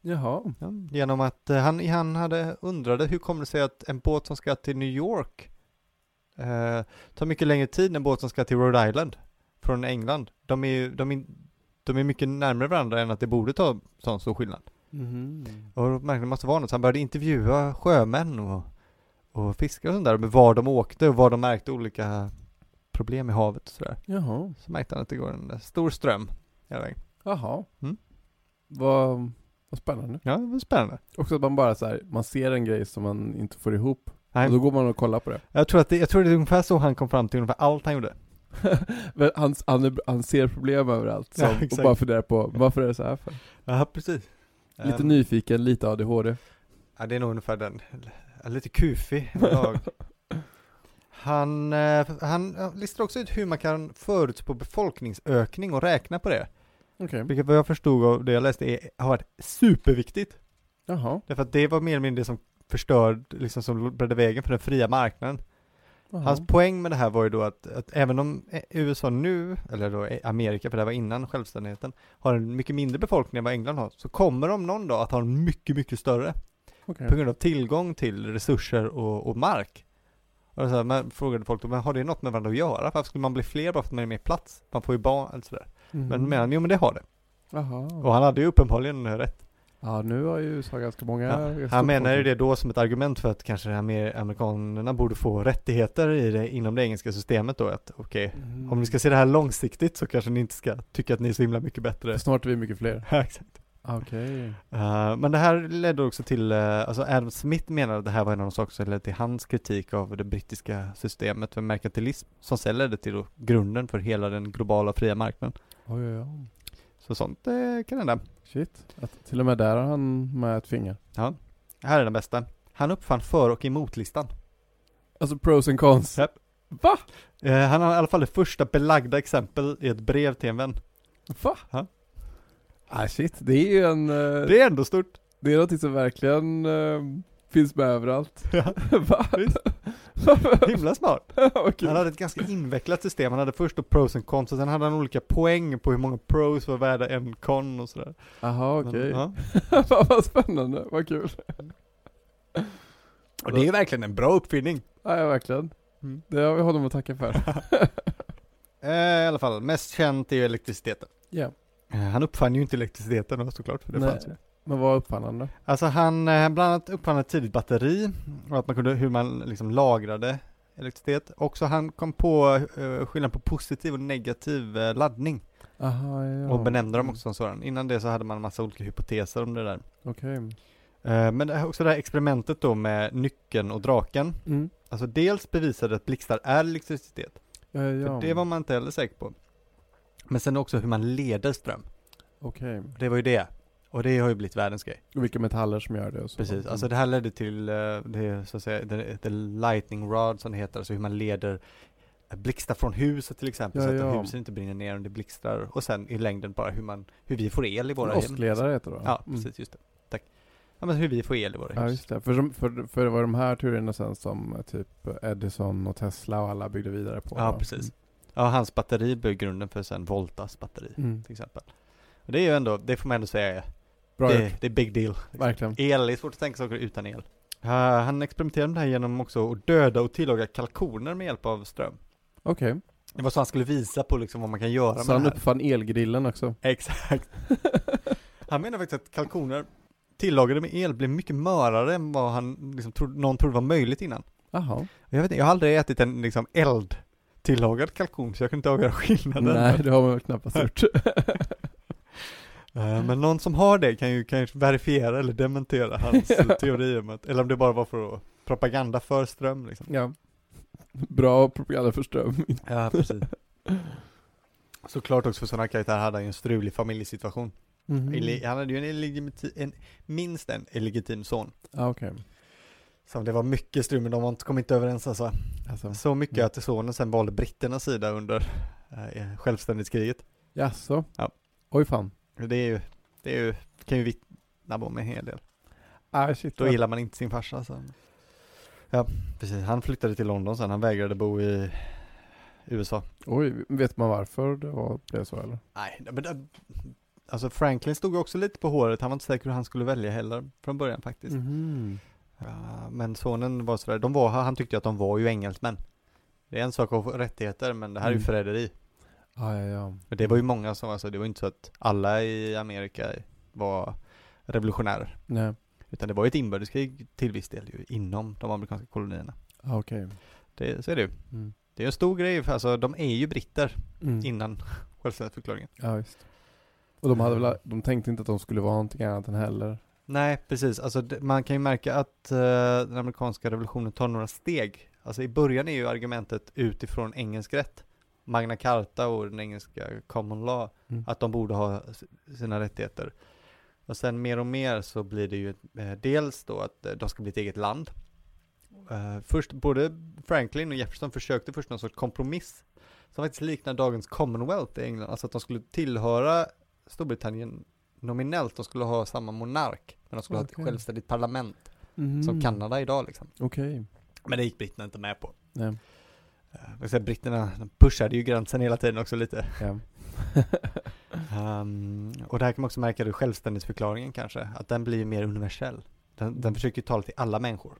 S2: Jaha.
S1: ja, genom att eh, han, han hade undrade hur kommer det sig att en båt som ska till New York eh, tar mycket längre tid än en båt som ska till Rhode Island från England. De är, ju- de är, de är mycket närmare varandra än att det borde ta sån stor skillnad. Och då märkte han måste vara något, så han började intervjua sjömän och, och fiskare och sånt där, med var de åkte och var de märkte olika problem i havet och sådär.
S2: Jaha.
S1: Så märkte han att det går en eh, stor ström hela vägen.
S2: Jaha.
S1: Mm.
S2: Vad, vad spännande.
S1: Ja, det var spännande.
S2: Också att man bara så här, man ser en grej som man inte får ihop
S1: Nej,
S2: och då går man och kollar på det.
S1: jag, tror att det, jag tror det är ungefär så han kom fram till ungefär allt han gjorde.
S2: Men han, han, är, han ser problem överallt som,
S1: Ja,
S2: och
S1: exakt.
S2: bara funderar på varför är det så här för?
S1: Ja, precis.
S2: Lite nyfiken, lite ADHD.
S1: Ehm, Ja, det är nog ungefär den. Ja, Lite kufig lag. Han, eh, han eh, listar också ut hur man kan förutspå befolkningsökning och räkna på det.
S2: Okej.
S1: Vilket vad jag förstod av det jag läste är, har varit superviktigt.
S2: Jaha.
S1: Därför att det var mer eller mindre det som förstörde, liksom som bredde vägen för den fria marknaden.
S2: Jaha.
S1: Hans poäng med det här var ju då att, att även om eh, USA nu, eller då eh, Amerika, för det här var innan självständigheten, har en mycket mindre befolkning än vad England har, så kommer de någon dag att ha en mycket, mycket större
S2: Okej.
S1: på grund av tillgång till resurser och, och mark. Och så här, man frågade folk då, men har det något med varandra att göra? Varför skulle man bli fler bara för att man är mer plats? Man får ju barn, eller sådär. Men
S2: Mhm.
S1: menar han, jo men det har det.
S2: Jaha.
S1: Och han hade ju uppenbarligen rätt.
S2: Ja, nu har ju USA ganska många...
S1: Ja, Han menar ju det då som ett argument för att kanske amer- amerikanerna borde få rättigheter i det, inom det engelska systemet då att okej,
S2: Mhm.
S1: om ni ska se det här långsiktigt så kanske ni inte ska tycka att ni är så himla mycket bättre.
S2: Snart är vi mycket fler. Ah,
S1: Ja, Exakt.
S2: Okej.
S1: Eh, men det här ledde också till, eh, alltså Adam Smith menar att det här var en av de saker som ledde till hans kritik av det brittiska systemet för merkantilism som sen ledde till då grunden för hela den globala fria marknaden.
S2: Oj, oj, oj.
S1: Så sånt eh, kan hända.
S2: Shit. Att, till och med där har han med ett finger.
S1: Ja. Här är den bästa. Han uppfann för och emot-listan.
S2: Alltså pros and cons.
S1: Japp.
S2: Va?
S1: Eh, han har i alla fall det första belagda exempel i ett brev till en vän.
S2: Va?
S1: Ja.
S2: Ah shit, det är ju en... eh, Det,
S1: Det är ändå stort.
S2: är någonting som verkligen eh, finns med överallt.
S1: Ja,
S2: Va?
S1: visst. Himla smart.
S2: Vad kul.
S1: Han hade ett ganska invecklat system. Han hade först då pros and cons och sen hade han olika poäng på hur många pros var värda en con och sådär.
S2: Jaha,
S1: Men,
S2: okej.
S1: ja.
S2: Fan, vad spännande, vad kul.
S1: Och det är ju verkligen en bra uppfinning.
S2: Ja, ja verkligen.
S1: Mm.
S2: Det har vi honom att tacka för.
S1: Eh, I alla fall, mest känt är ju elektriciteten.
S2: Ja.
S1: Eh, Han uppfann ju inte elektriciteten då såklart, för det
S2: Nej.
S1: fanns ju.
S2: Men vad uppfann han då?
S1: Alltså han, eh, bland annat uppfann ett tidigt batteri och att man kunde, hur man liksom lagrade elektricitet. Också han kom på uh, skillnaden på positiv och negativ eh, laddning
S2: Aha, ja.
S1: och benämnde dem också som sådan. Innan det så hade man en massa olika hypoteser om det där.
S2: Okej.
S1: Eh, men det här, också det här experimentet då med nyckeln och draken.
S2: Mm.
S1: Alltså dels bevisade att blixtar är elektricitet,
S2: Ja, ja, ja.
S1: för det var man inte heller säker på. Men sen också hur man leder ström,
S2: Okej.
S1: det var ju det. Och det har ju blivit världens grej.
S2: Och vilka metaller som gör det och så.
S1: Precis, alltså det här ledde till eh, det, så att säga, the, the lightning rod som det heter, alltså hur man leder eh, blixtar från huset till exempel,
S2: Ja,
S1: så att
S2: ja.
S1: husen inte brinner ner om det blixtrar. Och sen i längden bara hur, man, hur vi får el i
S2: En
S1: våra hem.
S2: Åskledare heter det va?
S1: Ja,
S2: Mm.
S1: precis, just det. Tack. Ja, men hur vi får el i våra
S2: Ja,
S1: hus.
S2: just det. För, som, för, för det var de här teorierna sen som eh, typ Edison och Tesla och alla byggde vidare på.
S1: Ja,
S2: va?
S1: precis. Ja, hans batteri blev grunden för sen Voltas batteri
S2: Mm. Mm.
S1: till exempel. Och det är ju ändå, det får man ändå säga är,
S2: Bra gjort.
S1: det, det är big deal.
S2: Verkligen.
S1: El, det är svårt att tänka saker utan el. Eh, han experimenterade med det här genom också att döda och tillaga kalkoner med hjälp av ström.
S2: Okej.
S1: Det var så han skulle visa på liksom vad man kan göra
S2: Så
S1: med
S2: han
S1: det här.
S2: uppfann elgrillen också.
S1: Exakt. Han menar faktiskt att kalkoner tillagade med el blev mycket mörare än vad han liksom trodde, någon trodde var möjligt innan.
S2: Jaha.
S1: Jag vet inte, jag har aldrig ätit en liksom eld tillagad kalkon så jag kunde inte avgöra skillnaden.
S2: Nej, det har man väl knappast gjort.
S1: Eh, Men någon som har det kan ju kanske verifiera eller dementera hans
S2: Ja.
S1: teori om att, eller om det bara var för att propaganda för ström liksom.
S2: ja. Bra propaganda för ström.
S1: Ja, precis. Såklart också för sådana karaktärer hade han ju en strulig familjesituation.
S2: Mm.
S1: Mm. Ili- Han hade ju en, illegiti- en minst en illegitim son.
S2: Ja, Ah, okej.
S1: Som det var mycket strul, men de var inte- kom inte överens alltså.
S2: Alltså,
S1: Så mycket
S2: Mm.
S1: att sonen sen valde britternas sida under eh, självständighetskriget.
S2: jaså?
S1: Ja.
S2: Oj fan.
S1: Det är ju, det är ju, kan ju vittna om en hel del.
S2: Ah, shit,
S1: Då
S2: vad-
S1: gillar man inte sin farsa sen. Ja, precis. Han flyttade till London sen, han vägrade bo i USA.
S2: Oj, vet man varför det var, blev så eller?
S1: Nej, men det, alltså Franklin stod ju också lite på håret, han var inte säker hur han skulle välja heller från början faktiskt.
S2: Mhm.
S1: Ja, men sonen var sådär, de var, han tyckte ju att de var ju engelsmän. Det är en sak att få rättigheter, men det här är ju
S2: Mm.
S1: förräderi.
S2: Ah, ja, ja.
S1: Men det var ju många som, alltså det var ju inte så att alla i Amerika var revolutionärer.
S2: Nej,
S1: Utan det var ju ett inbördeskrig till viss del ju inom de amerikanska kolonierna.
S2: ah, okej.
S1: Det, så är det ju.
S2: Mm.
S1: Det är en stor grej, för alltså de är ju britter
S2: Mm.
S1: innan självständighetsförklaringen.
S2: Ja, visst. Eh. Och de, hade väl, de tänkte inte att de skulle vara någonting annat än heller.
S1: Nej, precis. Alltså det, man kan ju märka att eh, den amerikanska revolutionen tar några steg. Alltså i början är ju argumentet utifrån engelsk rätt, Magna Carta och den engelska common law,
S2: Mm.
S1: att de borde ha s- sina rättigheter. Och sen mer och mer så blir det ju eh, dels då att eh, de ska bli ett eget land. Eh, först, både Franklin och Jefferson försökte först någon sorts kompromiss som faktiskt liknar dagens Commonwealth i England, alltså att de skulle tillhöra Storbritannien nominellt, de skulle ha samma monark, men de skulle ha
S2: Okej.
S1: ett självständigt parlament,
S2: Mm.
S1: som Kanada idag liksom.
S2: Okej.
S1: Men det gick britterna inte med på.
S2: Nej.
S1: Eh, jag vill säga, britterna de pushade ju gränsen hela tiden också lite.
S2: Ja.
S1: Ehm, och det här kan man också märka i självständighetsförklaringen kanske, att den blir ju mer universell. Den, den försöker ju tala till alla människor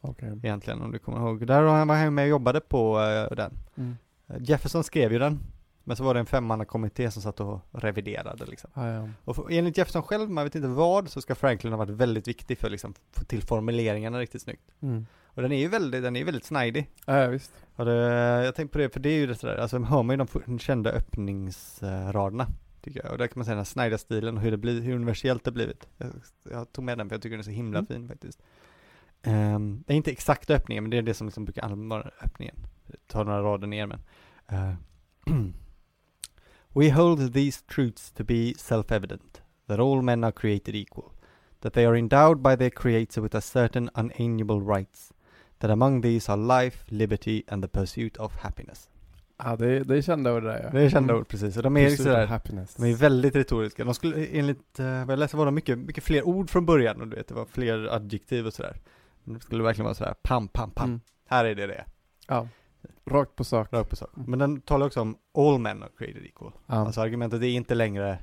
S2: Okej.
S1: egentligen, om du kommer ihåg. Där var han- var han med och jobbade på eh, den.
S2: Mm.
S1: Eh, Jefferson skrev ju den, men så var det en femmannakommitté som satt och reviderade liksom.
S2: Ah, ja.
S1: Och för, enligt Jefferson själv, man vet inte vad, så ska Franklin ha varit väldigt viktig för att liksom, få till formuleringarna riktigt snyggt.
S2: Mm.
S1: Och den är ju väldigt, den är ju väldigt snidig.
S2: Ah, ja, visst.
S1: Och det, eh, jag tänkte på det, för det är ju det sådär, alltså man hör man ju de fu- kända öppningsraderna, tycker jag. Och där kan man se den här Snyder-stilen och hur, det blir, hur universellt det blivit. Jag, jag tog med den för jag tycker den är så himla
S2: Mm.
S1: fin faktiskt. Ehm, det är inte exakta öppningen, men det är det som liksom brukar allmänt vara öppningen. Ta några rader ner men. eh, We hold these truths to be self-evident, that all men are created equal, that they are endowed by their creator with a certain unalienable rights, that among these are life, liberty and the pursuit of happiness.
S2: Ah, det, det är kända ord det där ja.
S1: Det är kända
S2: Mm.
S1: ord precis, och de är liksom
S2: Pursuit of
S1: sådär,
S2: happiness.
S1: de är väldigt retoriska. De skulle, enligt eh, vad jag läste var de mycket, mycket fler ord från början och du vet, det var fler adjektiv och sådär. Men det skulle verkligen vara sådär, pam, pam, pam,
S2: Mm.
S1: här är det det,
S2: Ja. Rakt på sak.
S1: rakt på sak.
S2: Mm.
S1: Men den talar också om all men are created equal.
S2: Ja.
S1: Alltså argumentet är inte längre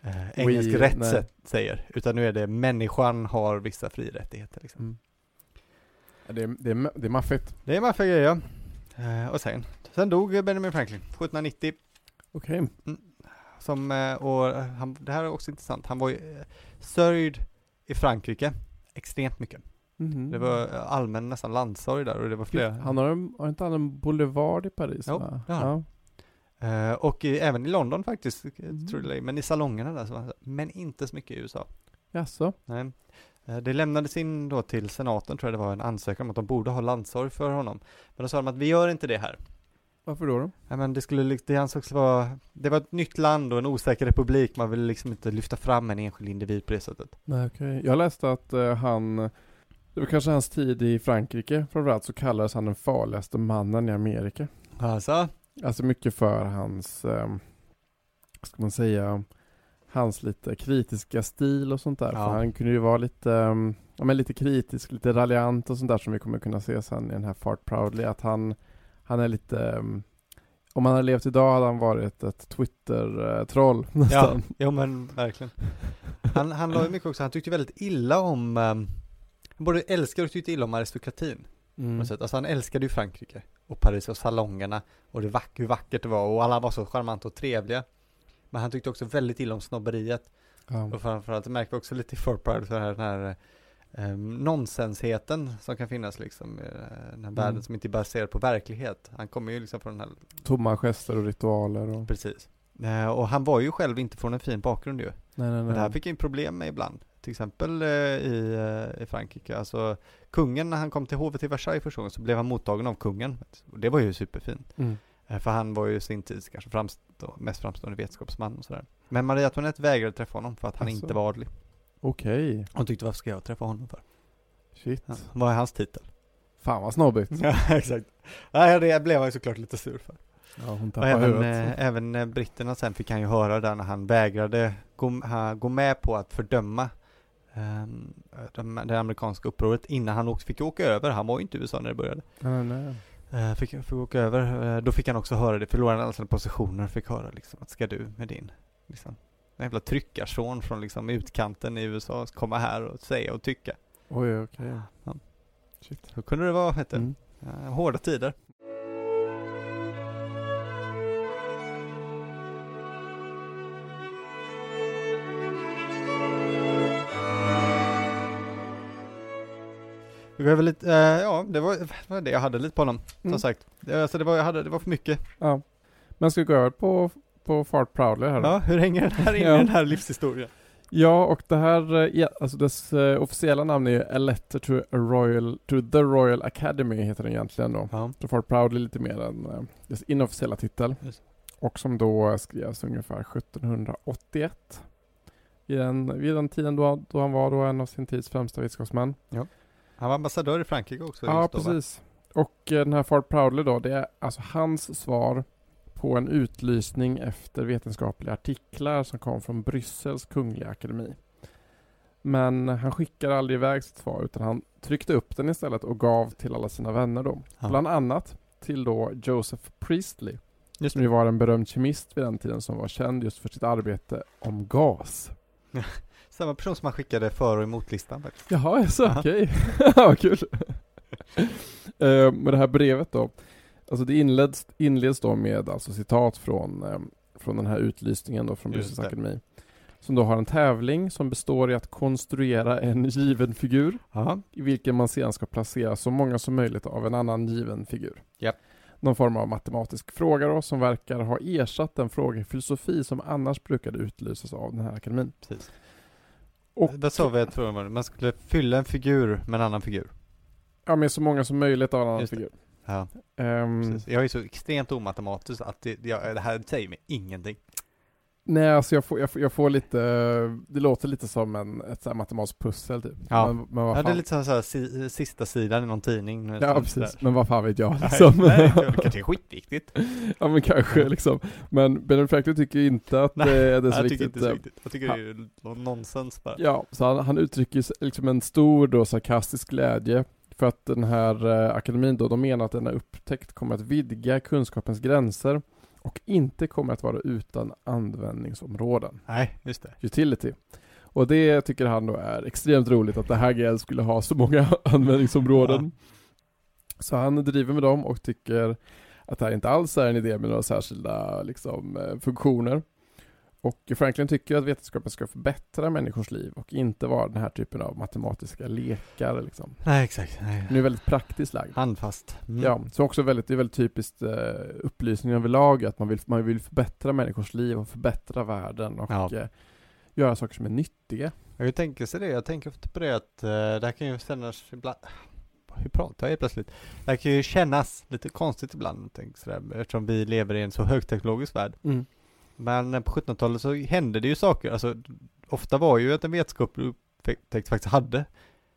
S1: eh, engelsk
S2: We-
S1: rätt
S2: nej.
S1: sätt, säger, utan nu är det människan har vissa fri rättigheter liksom.
S2: Mm. Ja, Det, är, det, är, ma- det är maffigt.
S1: Det är maffiga grejer. Eh, och sen, sen dog Benjamin Franklin 1790.
S2: Okej.
S1: Som, eh, och han, det här är också intressant, han var ju eh, sörjd i Frankrike extremt mycket.
S2: Mhm.
S1: Det var eh, allmän nästan landsorg där och det var flera.
S2: Han har, en, har inte han en boulevard i Paris?
S1: Jo,
S2: va?
S1: det har han.
S2: Ja.
S1: Eh, och i, även i London faktiskt, eh,
S2: Mm.
S1: tror det eller ej, men i salongerna där, så var han, så- men inte så mycket i USA.
S2: Jaså?
S1: Nej. Eh, Det lämnades in då till senaten, tror jag det var, en ansökan om att de borde ha landsorg för honom. Men då sa de att vi gör inte det här.
S2: Varför då? då?
S1: Nej, men det, skulle, lik- det ansågs vara, det var ett nytt land och en osäker republik, man ville liksom inte lyfta fram en enskild individ på det sättet.
S2: Nej, okej. Jag läste att eh, han, det var kanske hans tid i Frankrike framförallt, så kallades han den farligaste mannen i Amerika.
S1: Alltså,
S2: Alltså mycket för hans, eh, vad ska man säga, hans lite kritiska stil och sånt där.
S1: Ja.
S2: För han kunde ju vara lite, eh, ja, men lite kritisk, lite raljant och sånt där som vi kommer kunna se sen i den här Fart Proudly. Att han, han är lite, eh, om han hade levt idag hade han varit ett Twitter-troll
S1: Ja,
S2: nästan.
S1: jo men verkligen. Han, han la ju mycket också, han tyckte väldigt illa om, ehm, han både älskade och tyckte illa om aristokratin. på
S2: Mm.
S1: något sätt. Alltså han älskade ju Frankrike och Paris och salongerna och det vack, hur vackert det var och alla var så charmanta och trevliga. Men han tyckte också väldigt illa om snobberiet
S2: Ja.
S1: och framförallt, det märker vi också lite i Fort Pride, så här, den här eh, nonsensheten som kan finnas liksom i eh, den här
S2: Mm.
S1: världen som inte är baserad på verklighet. Han kommer ju liksom från den här
S2: Tomma gester och ritualer och...
S1: Precis. Eh, Och han var ju själv inte från en fin bakgrund ju.
S2: Nej, nej, nej.
S1: Men det här fick han ju problem med ibland. Till exempel eh, i, eh, i Frankrike, alltså kungen när han kom till hovet i Versailles första gången så blev han mottagen av kungen. Och det var ju superfint.
S2: Mm.
S1: Eh, För han var ju sin tids kanske framstå, mest framstående vetenskapsman och sådär. Men Maria Antoinette vägrade träffa honom för att han
S2: Asså.
S1: inte var adlig.
S2: Okej.
S1: Hon tyckte varför ska jag träffa honom för?
S2: Shit.
S1: Ja, vad är hans titel?
S2: Fan vad snobbigt.
S1: Ja, exakt. Nej, det blev jag ju såklart lite sur för.
S2: Ja, hon
S1: Och
S2: tappar
S1: även,
S2: huvudet.
S1: eh, även eh, britterna sen fick han ju höra där när han vägrade gå, ha, gå med på att fördöma ehm, de, det amerikanska upproret innan han också fick åka över. Han var ju inte i USA när det började.
S2: Nej, nej, nej.
S1: Eh, fick, fick åka över. Eh, då fick han också höra det. Förlorade alla sina positioner. Fick höra liksom att ska du med din liksom, den jävla tryckarson från liksom utkanten i USA komma här och säga och tycka.
S2: Oj, okej.
S1: Ja.
S2: Shit.
S1: Så kunde det vara, hette det.
S2: Mm.
S1: Eh, Hårda tider. Vi behöver lite, eh, ja det var, var det jag hade lite på honom,
S2: Mm.
S1: som sagt. Det, alltså det var, jag hade, det var för mycket.
S2: Ja. Men ska vi gå över på, på Fart Proudly här då?
S1: Ja, hur hänger den här in
S2: Ja.
S1: i den här livshistorien?
S2: Ja, och det här, eh, ja, alltså dess eh, officiella namn är ju A Letter to, a Royal, to the Royal Academy heter den egentligen då.
S1: Ja.
S2: Så Fart Proudly är lite mer en eh, dess inofficiella titel.
S1: Just.
S2: Och som då skrevs ungefär 1781. Vid den, vid den tiden då, då han var då en av sin tids främsta vetenskapsmän.
S1: Han var ambassadör i Frankrike också.
S2: Ja,
S1: just då, va?
S2: precis. Och eh, den här Fart Proudly då, det är alltså hans svar på en utlysning efter vetenskapliga artiklar som kom från Bryssels kungliga akademi. Men han skickade aldrig iväg sitt svar utan han tryckte upp den istället och gav till alla sina vänner då.
S1: Ja.
S2: Bland annat till då Joseph Priestley.
S1: Just
S2: som ju var en berömd kemist vid den tiden som var känd just för sitt arbete om gas.
S1: Samma person som han skickade för och emot-listan faktiskt.
S2: Jaha, jaså,
S1: Ja.
S2: okej. Vad kul. Eh, Men det här brevet då. Alltså det inleds, inleds då med alltså citat från, eh, från den här utlysningen då från
S1: Just
S2: Bryssels
S1: det.
S2: akademi. Som då har en tävling som består i att konstruera en given figur
S1: Ja.
S2: i vilken man sedan ska placera så många som möjligt av en annan given figur.
S1: Japp.
S2: Någon form av matematisk fråga då, som verkar ha ersatt den fråga i filosofi som annars brukade utlysas av den här akademin.
S1: Precis.
S2: Och-
S1: Där sa vi, jag tror det var det. man skulle fylla en figur med en annan figur.
S2: Ja, med så många som möjligt av en annan
S1: Just det.
S2: figur.
S1: Ja,
S2: Ehm,
S1: precis. Jag är så extremt omatematisk att det, jag, det här säger mig ingenting.
S2: nej, alltså jag får, jag, får, jag får lite, det låter lite som en, ett så här matematiskt pussel typ.
S1: Ja.
S2: men, men vad
S1: Ja,
S2: fan.
S1: det är lite som så här, si, sista sidan i någon tidning. nu,
S2: ja
S1: sånt
S2: precis,
S1: där.
S2: men vad fan vet jag
S1: Nej,
S2: liksom.
S1: nej, det kanske är typ. skitviktigt.
S2: ja men kanske liksom. Men Benjamin Franklin tycker ju inte att
S1: Nej,
S2: det är det
S1: Nej,
S2: så
S1: jag tycker
S2: viktigt.
S1: inte det är
S2: eh,
S1: så viktigt. Jag tycker det är nå- nonsens bara.
S2: Ja, så han, han uttrycker ju s- liksom en stor då sarkastisk glädje för att den här eh, akademin då, de menar att denna upptäckt kommer att vidga kunskapens gränser och inte kommer att vara utan användningsområden.
S1: Nej, just det.
S2: Utility. Och det tycker han då är extremt roligt att det här grejen skulle ha så många användningsområden. Så han driver med dem och tycker att det här inte alls är en idé med några särskilda liksom, eh, funktioner. Och Franklin tycker att vetenskapen ska förbättra människors liv och inte vara den här typen av matematiska lekar. Liksom.
S1: Nej, exakt. Nej.
S2: Nu är väldigt praktiskt lagd.
S1: Handfast. Mm.
S2: Ja, så också väldigt, det är väldigt typiskt eh, upplysning överlag att man vill, man vill förbättra människors liv och förbättra världen och
S1: Ja.
S2: eh, göra saker som är nyttiga.
S1: Jag tänker sig det, jag tänker ofta på det att eh, det här kan ju kännas ibland, hur pratar jag helt plötsligt? Det här kan ju kännas lite konstigt ibland, tänk sådär, eftersom vi lever i en så högteknologisk värld. Men eh, på 1700-talet så hände det ju saker, alltså ofta var ju att en vetenskap upptäckt faktiskt hade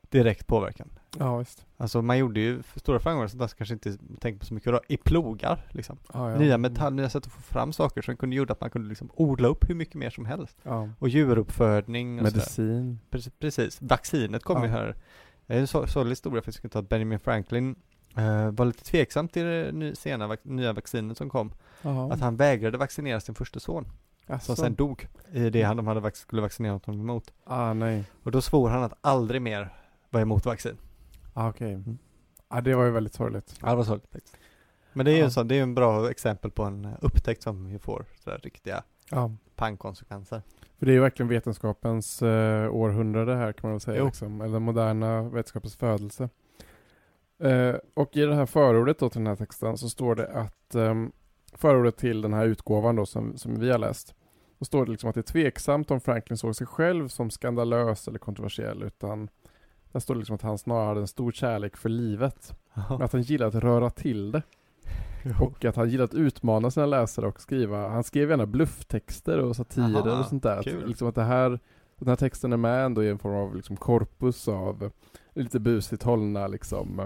S1: direkt påverkan.
S2: Ja, visst.
S1: Alltså man gjorde ju för stora framgångar, så där så kanske inte tänker på så mycket då, i plogar liksom.
S2: Ja, ja.
S1: Nya metall, nya sätt att få fram saker som kunde gjorde att man kunde liksom odla upp hur mycket mer som helst.
S2: Ja.
S1: Och djuruppfödning och sådär.
S2: Medicin.
S1: Prec- Precis, vaccinet kom
S2: Ja.
S1: ju här. Det är en sor- sorglig historia för jag skulle ta att Benjamin Franklin eh, var lite tveksam till det ny, sena vac- nya vaccinet som kom.
S2: Jaha.
S1: Att han vägrade vaccinera sin första son, som
S2: Alltså.
S1: sen dog i det han de hade vac- skulle vaccinera honom emot.
S2: Ah, nej.
S1: Och då svor han att aldrig mer vara emot vaccin.
S2: Ah, okej. Ah, det var ju väldigt sorgligt.
S1: Mm. Ja, det var sorgligt faktiskt. Men det är ju
S2: Ja.
S1: en sån, det är ju en bra exempel på en eh, upptäckt som ju får sådär riktiga
S2: Ja.
S1: pangkonsekvenser.
S2: För det är ju verkligen vetenskapens eh, århundrade här kan man väl säga.
S1: Jo.
S2: Liksom. Eller den moderna vetenskapens födelse. Eh, och i det här förordet då till den här texten så står det att ehm, förordet till den här utgåvan då som, som vi har läst. Då står det liksom att det är tveksamt om Franklin såg sig själv som skandalös eller kontroversiell utan där står det liksom att han snarare hade en stor kärlek för livet. Men att han gillade att röra till det. Och att han gillade att utmana sina läsare och skriva, han skrev gärna blufftexter och satirer
S1: Aha,
S2: och sånt där. Att,
S1: kul.
S2: liksom att det här, den här texten är med ändå i en form av liksom korpus av lite busigt hållna liksom,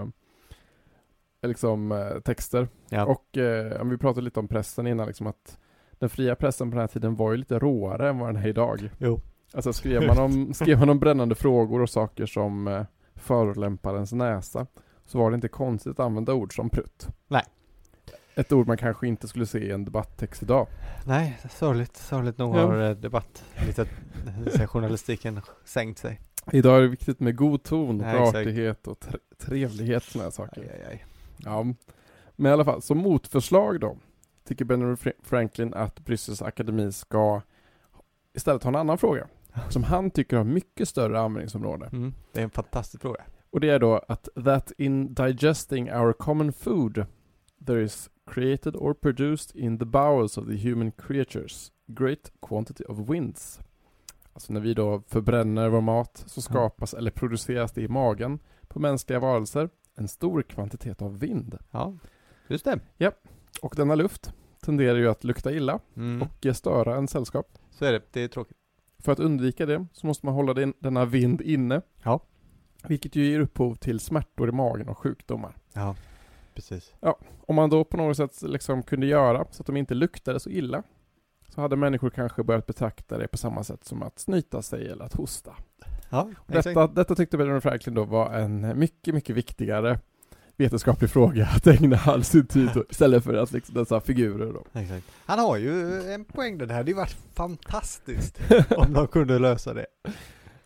S2: eh, liksom eh, texter.
S1: Ja.
S2: Och eh, om vi pratade lite om pressen innan, liksom att den fria pressen på den här tiden var ju lite råare än vad den är idag.
S1: Jo.
S2: Alltså skrev man, om, skrev man om brännande frågor och saker som eh, förolämpar ens näsa så var det inte konstigt att använda ord som prutt.
S1: Nej.
S2: Ett ord man kanske inte skulle se i en debatttext idag.
S1: Nej, sorgligt, sorgligt nog
S2: Ja.
S1: har eh, debatt, lite, eh, journalistiken sänkt sig.
S2: Idag är det viktigt med god ton, och
S1: Ja, exakt.
S2: artighet och tre- trevlighet såna här saker.
S1: Aj, aj, aj.
S2: Ja, men i alla fall, som motförslag då tycker Benjamin Fra- Franklin att Bryssels akademi ska istället ha en annan fråga som han tycker har mycket större användningsområde.
S1: Mm. Det är en fantastisk fråga.
S2: Och det är då att that in digesting our common food there is created or produced in the bowels of the human creatures great quantity of winds. Alltså när vi då förbränner vår mat så skapas eller produceras det i magen på mänskliga varelser en stor kvantitet av vind.
S1: Ja, just det.
S2: Och denna luft tenderar ju att lukta illa
S1: Mm.
S2: och störa en sällskap.
S1: Så är det, det är tråkigt.
S2: För att undvika det så måste man hålla den, denna vind inne.
S1: Ja.
S2: Vilket ju ger upphov till smärtor i magen och sjukdomar.
S1: Ja, precis.
S2: Om man då på något sätt liksom kunde göra så att de inte luktade så illa så hade människor kanske börjat betrakta det på samma sätt som att snyta sig eller att hosta.
S1: Ja,
S2: Detta, detta tyckte Benjamin Franklin då var en mycket, mycket viktigare vetenskaplig fråga att ägna all sin tid åt istället för att liksom dessa figurer då.
S1: Exakt. Han har ju en poäng där, det hade ju varit fantastiskt om de kunde lösa det.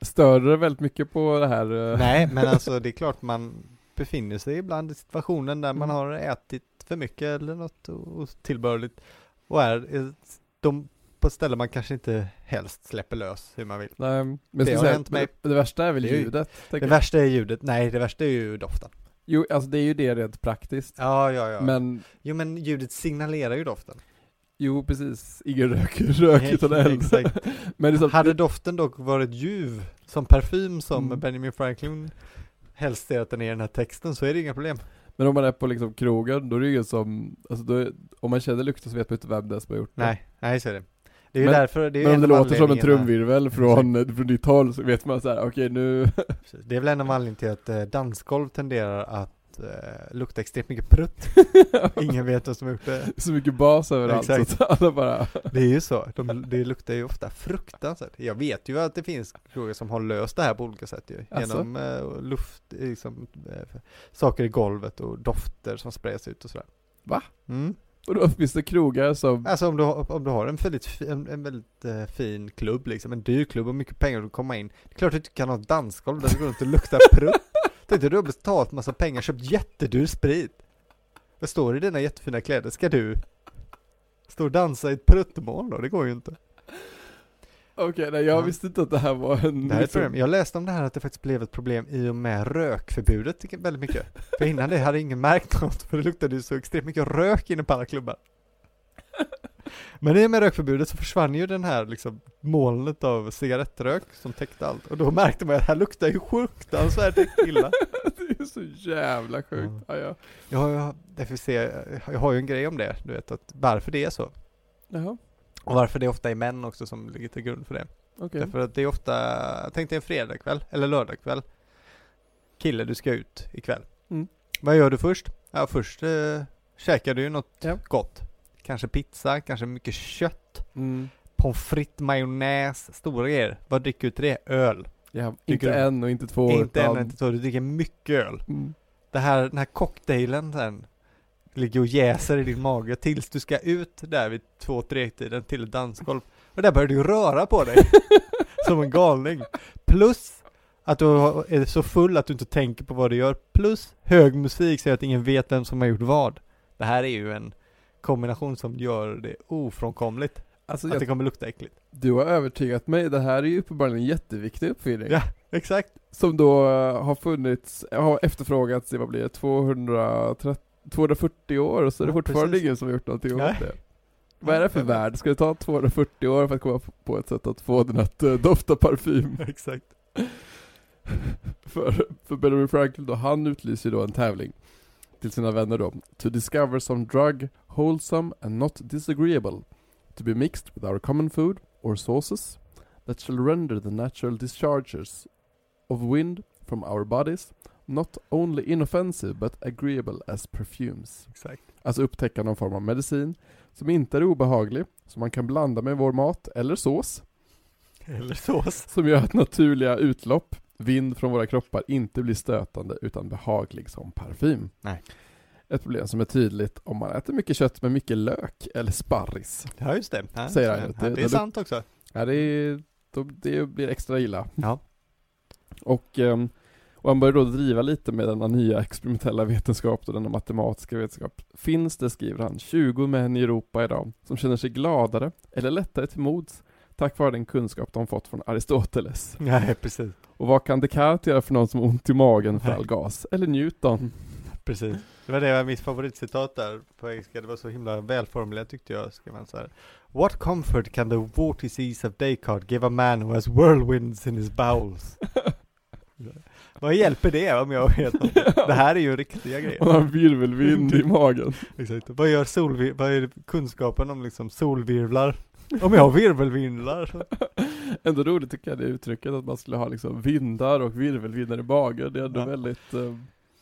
S2: Stör det väldigt mycket på det här? eh,
S1: Nej, men alltså det är klart man befinner sig ibland i situationen där man
S2: Mm.
S1: har ätit för mycket eller något otillbörligt och är i de på ett ställe man kanske inte helst släpper lös hur man vill.
S2: Nej, men
S1: Det
S2: det,
S1: har
S2: säga,
S1: hänt mig.
S2: det, det värsta är väl
S1: Det är ju-
S2: ljudet? tänker
S1: Det
S2: jag.
S1: värsta är ljudet, nej det värsta är ju doften.
S2: Jo, alltså det är ju det rent praktiskt.
S1: Ja, ja, ja.
S2: Men,
S1: Jo men ljudet signalerar ju doften.
S2: jo precis, ingen rök, rök utan eld.
S1: Exakt.
S2: Men det är så att,
S1: Hade doften dock varit ljuv som parfym som
S2: Mm.
S1: Benjamin Franklin helst ser att den är i den här texten så är det inga problem.
S2: men om man är på liksom krogen, då är det ju som, alltså då är, om man känner lukten så vet man inte vem det är som har gjort det.
S1: Nej, nej så är det. Det är
S2: Men-
S1: ju därför, det är
S2: Men om
S1: en
S2: det
S1: av
S2: låter som en
S1: anledningarna-
S2: trumvirvel från, från ditt håll så vet man så här: okej nu,
S1: Precis. Det är väl en av anledningarna till att eh, dansgolv tenderar att eh, lukta extremt mycket prutt. Ingen vet vem som har gjort det.
S2: så mycket bas överallt så
S1: Exakt.
S2: att alla bara
S1: Det är ju så. De, det luktar ju ofta fruktansvärt. Jag vet ju att det finns frågor som har löst det här på olika sätt ju.
S2: Alltså?
S1: Genom eh, luft, liksom, eh, saker i golvet och dofter som sprids ut och sådär.
S2: Va?
S1: Mm.
S2: Och då finns det krogar som,
S1: Alltså om du, har- om du har en väldigt, fi- en, en väldigt eh, fin klubb liksom, en dyr klubb och mycket pengar att komma in. Det är klart att du kan ha ett dansgolv där det går runt och luktar prutt. Tänkte du har betalat massa pengar, köpt jättedyr sprit. Jag står i dina jättefina kläder, ska du stå och dansa i ett pruttmoln då? Det går ju inte.
S2: okej nej jag
S1: Ja.
S2: visste inte att det här var en
S1: Det här är ett
S2: liksom-
S1: problem. Jag läste om det här att det faktiskt blev ett problem i och med rökförbudet tycker jag, väldigt mycket. För innan det hade ingen märkt något, för det luktade ju så extremt mycket rök inne på alla klubbar. Men i och med rökförbudet så försvann ju den här liksom molnet av cigarettrök som täckte allt. Och då märkte man att det här luktar ju fruktansvärt illa.
S2: Det är så jävla sjukt. Ja. Ja,
S1: Jag har, ju- jag, får se, jag har ju en grej om det, du vet, att varför det är så.
S2: Jaha,
S1: Och varför det ofta är män också som ligger till grund för det.
S2: okej.
S1: Därför att det är ofta, tänk dig en fredagkväll eller lördagkväll. Kille, du ska ut ikväll.
S2: Mm.
S1: Vad gör du först? Ja, först eh, käkar du ju något
S2: Ja.
S1: gott. Kanske pizza, kanske mycket kött,
S2: Mm.
S1: pommes frites, majonnäs, stora grejer. Vad dricker du till det? Öl.
S2: Ja,
S1: Tycker
S2: inte
S1: du?
S2: en och inte två
S1: inte en,
S2: utan...
S1: inte två, du dricker mycket öl.
S2: Mm.
S1: Det här, den här cocktailen sen ligger och jäser i din mage tills du ska ut där vid två-tre-tiden till ett dansgolv. Och där börjar du röra på dig. som en galning. Plus att du är så full att du inte tänker på vad du gör. Plus hög musik så att ingen vet vem som har gjort vad. Det här är ju en kombination som gör det ofrånkomligt
S2: Alltså,
S1: att det
S2: jag,
S1: kommer lukta äckligt.
S2: du har övertygat mig. Det här är ju uppenbarligen en jätteviktig uppfinning.
S1: Ja. Exakt.
S2: Som då eh, har funnits, har efterfrågats i, vad blir det, 230, 240 år och så är det
S1: Ja,
S2: fortfarande
S1: precis.
S2: ingen som har gjort någonting
S1: Nej.
S2: åt det. Vad är det för
S1: Jag vet.
S2: värld? Ska det ta 240 år för att komma på ett sätt att få den att eh, dofta parfym?
S1: Exakt.
S2: För, för Benjamin Franklin då, han utlyser ju då en tävling till sina vänner då. To discover some drug wholesome and not disagreeable. To be mixed with our common food or sauces that shall render the natural discharges of wind from our bodies, not only inoffensive but agreeable as perfumes.
S1: Exakt.
S2: Alltså upptäcka någon form av medicin som inte är obehaglig, som man kan blanda med vår mat eller sås,
S1: Eller sås.
S2: som gör att naturliga utlopp, vind från våra kroppar inte blir stötande utan behaglig som parfym.
S1: Nej.
S2: Ett problem som är tydligt om man äter mycket kött med mycket lök eller sparris.
S1: Ja just det. Ja,
S2: Säger
S1: så
S2: han
S1: är det.
S2: ju.
S1: Ja, det
S2: Det- det-
S1: är sant också.
S2: Ja, det, är, då, det blir extra illa.
S1: Ja.
S2: Och, ehm, och han börjar då driva lite med denna nya experimentella vetenskap och denna matematiska vetenskap. Finns det, skriver han, 20 män i Europa idag som känner sig gladare eller lättare till mods tack vare den kunskap de fått från Aristoteles.
S1: Nej precis.
S2: Och vad kan Descartes göra för någon som har ont i magen för all gas? Eller Newton?
S1: Precis. Det var det var mitt favoritcitat där på engelska. Det var så himla välformulerat tyckte jag. Skrev man så här. What comfort can the vortices of Descartes give a man who has whirlwinds in his bowels? Vad hjälper det om jag vet om det? Det här är ju riktiga
S2: Och
S1: grejer.
S2: han har virvelvind i magen.
S1: Exakt. Vad gör solvi- vad är kunskapen om liksom solvirvlar? Om jag har virvelvindlar?
S2: Ändå roligt tycker jag det uttrycket att man skulle ha liksom vindar och virvelvindar i magen. Det är ändå
S1: Ja.
S2: väldigt, eh,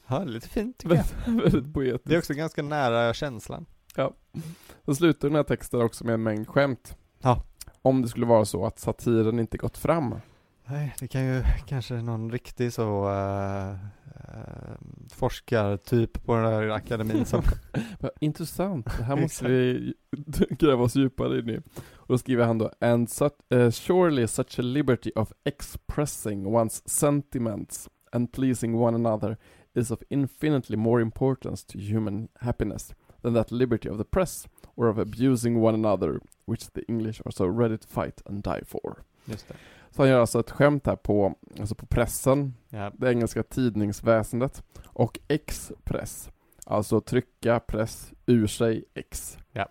S1: Ja, det är lite fint tycker jag.
S2: väldigt, väldigt poetiskt.
S1: Det är också ganska nära känslan.
S2: Sen slutar den här texten också med en mängd skämt.
S1: Ja.
S2: Om det skulle vara så att satiren inte gått fram.
S1: Nej, det kan ju kanske någon riktig så uh, forskartyp på den där akademin som...
S2: Vad Intressant, det här måste vi gräva oss djupare in i. Och då skriver han då And such, eh, surely such a liberty of expressing one's sentiments and pleasing one another is of infinitely more importance to human happiness than that liberty of the press or of abusing one another which the English are so ready to fight and die for.
S1: Just det.
S2: Så han gör alltså ett skämt här på, alltså på pressen,
S1: Ja,
S2: det engelska tidningsväsendet och express. Alltså trycka press ur sig X.
S1: Ja.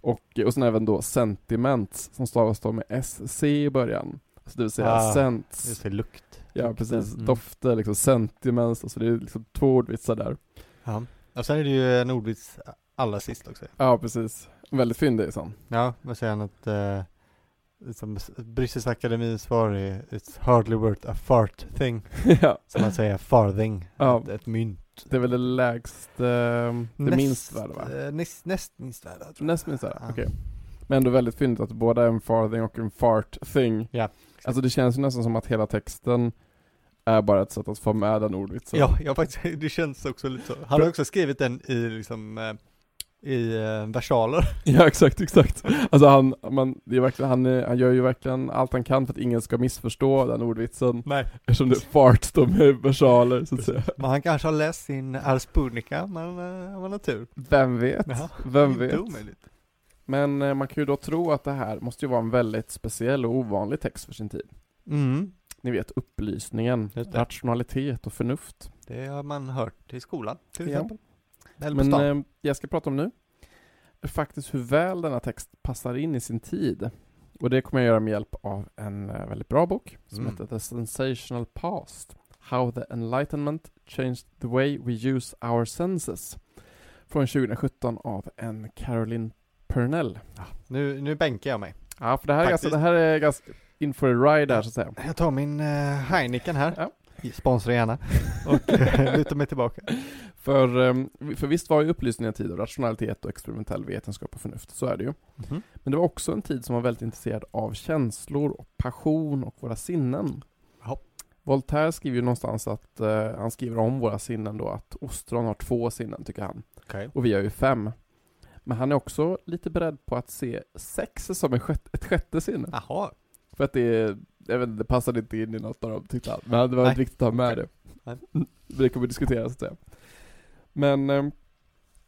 S2: Och, eh, och sen även då sentiments som stavas då med SC i början. Så det vill säga
S1: Ah, just
S2: scents.
S1: det, lukt.
S2: Ja precis,
S1: Mm.
S2: dofter, liksom sentiments, alltså det är liksom två ordvitsar där.
S1: Ja. Och sen är det ju en ordvits allra sist också.
S2: Ja precis, väldigt fyndig sån.
S1: Ja, vad säger han att... Uh, som Bryssels akademins svar är It's hardly worth a fart thing.
S2: ja,
S1: Som man säger farthing.
S2: Ja.
S1: Ett, ett mynt.
S2: det är väl det lägsta, det minst värda va?
S1: eh, näst, näst minst värda. tror jag.
S2: Näst minst värda,
S1: Ja.
S2: okej. Men ändå väldigt fint att båda är en farthing och en fart thing.
S1: Ja,
S2: Alltså det känns ju nästan som att hela texten är bara ett sätt att få med den ordvitsen.
S1: Ja, jag faktiskt, det känns också lite så. Han har också skrivit den i liksom eh, i eh, versaler.
S2: ja exakt, exakt. Alltså han, man, det är verkligen, han, är- han gör ju verkligen allt han kan för att ingen ska missförstå den ordvitsen.
S1: Nej.
S2: Eftersom det är fart står med versaler så att säga.
S1: Men han kanske har läst sin Ars Punica, men eh, han har tur.
S2: Vem vet?
S1: Ja,
S2: Vem
S1: Inte
S2: vet?
S1: omöjligt.
S2: Men eh, man kan ju då tro att det här måste ju vara en väldigt speciell och ovanlig text för sin tid.
S1: Mm.
S2: Ni vet upplysningen,
S1: Just det.
S2: rationalitet och förnuft.
S1: Det har man hört i skolan till
S2: Ja.
S1: exempel. Eller på
S2: Men
S1: stan.
S2: eh, jag ska prata om nu är faktiskt hur väl denna text passar in i sin tid. Och det kommer jag göra med hjälp av en eh, väldigt bra bok som
S1: Mm.
S2: heter The Sensational Past How the Enlightenment Changed the Way We Use Our Senses från 2017 av en Caroline Purnell.
S1: nu, nu bänkar jag mig.
S2: Ja, för det här, är ganska,
S1: Faktiskt.
S2: det här är ganska in for a ride här så att säga.
S1: Jag tar min eh, Heineken här.
S2: Ja.
S1: Sponsra gärna. Och eh, lutar mig tillbaka.
S2: För, eh, för visst var ju upplysningen en tid av rationalitet och experimentell vetenskap och förnuft, så är det ju.
S1: Mhm.
S2: Men det var också en tid som var väldigt intresserad av känslor, och passion och våra sinnen.
S1: Ja.
S2: Voltaire skriver ju någonstans att, eh, han skriver om våra sinnen då, att ostron har två sinnen tycker han. Och vi har ju fem. Men han är också lite beredd på att se sex som en sjätte, ett sjätte sinne.
S1: Jaha.
S2: För att det, är- jag vet, inte, det passade inte in i något av dem tyckte han. Men det var
S1: Nej.
S2: viktigt att ha med det.
S1: Nej.
S2: Mm, Det kommer vi diskutera så att säga. Men eh,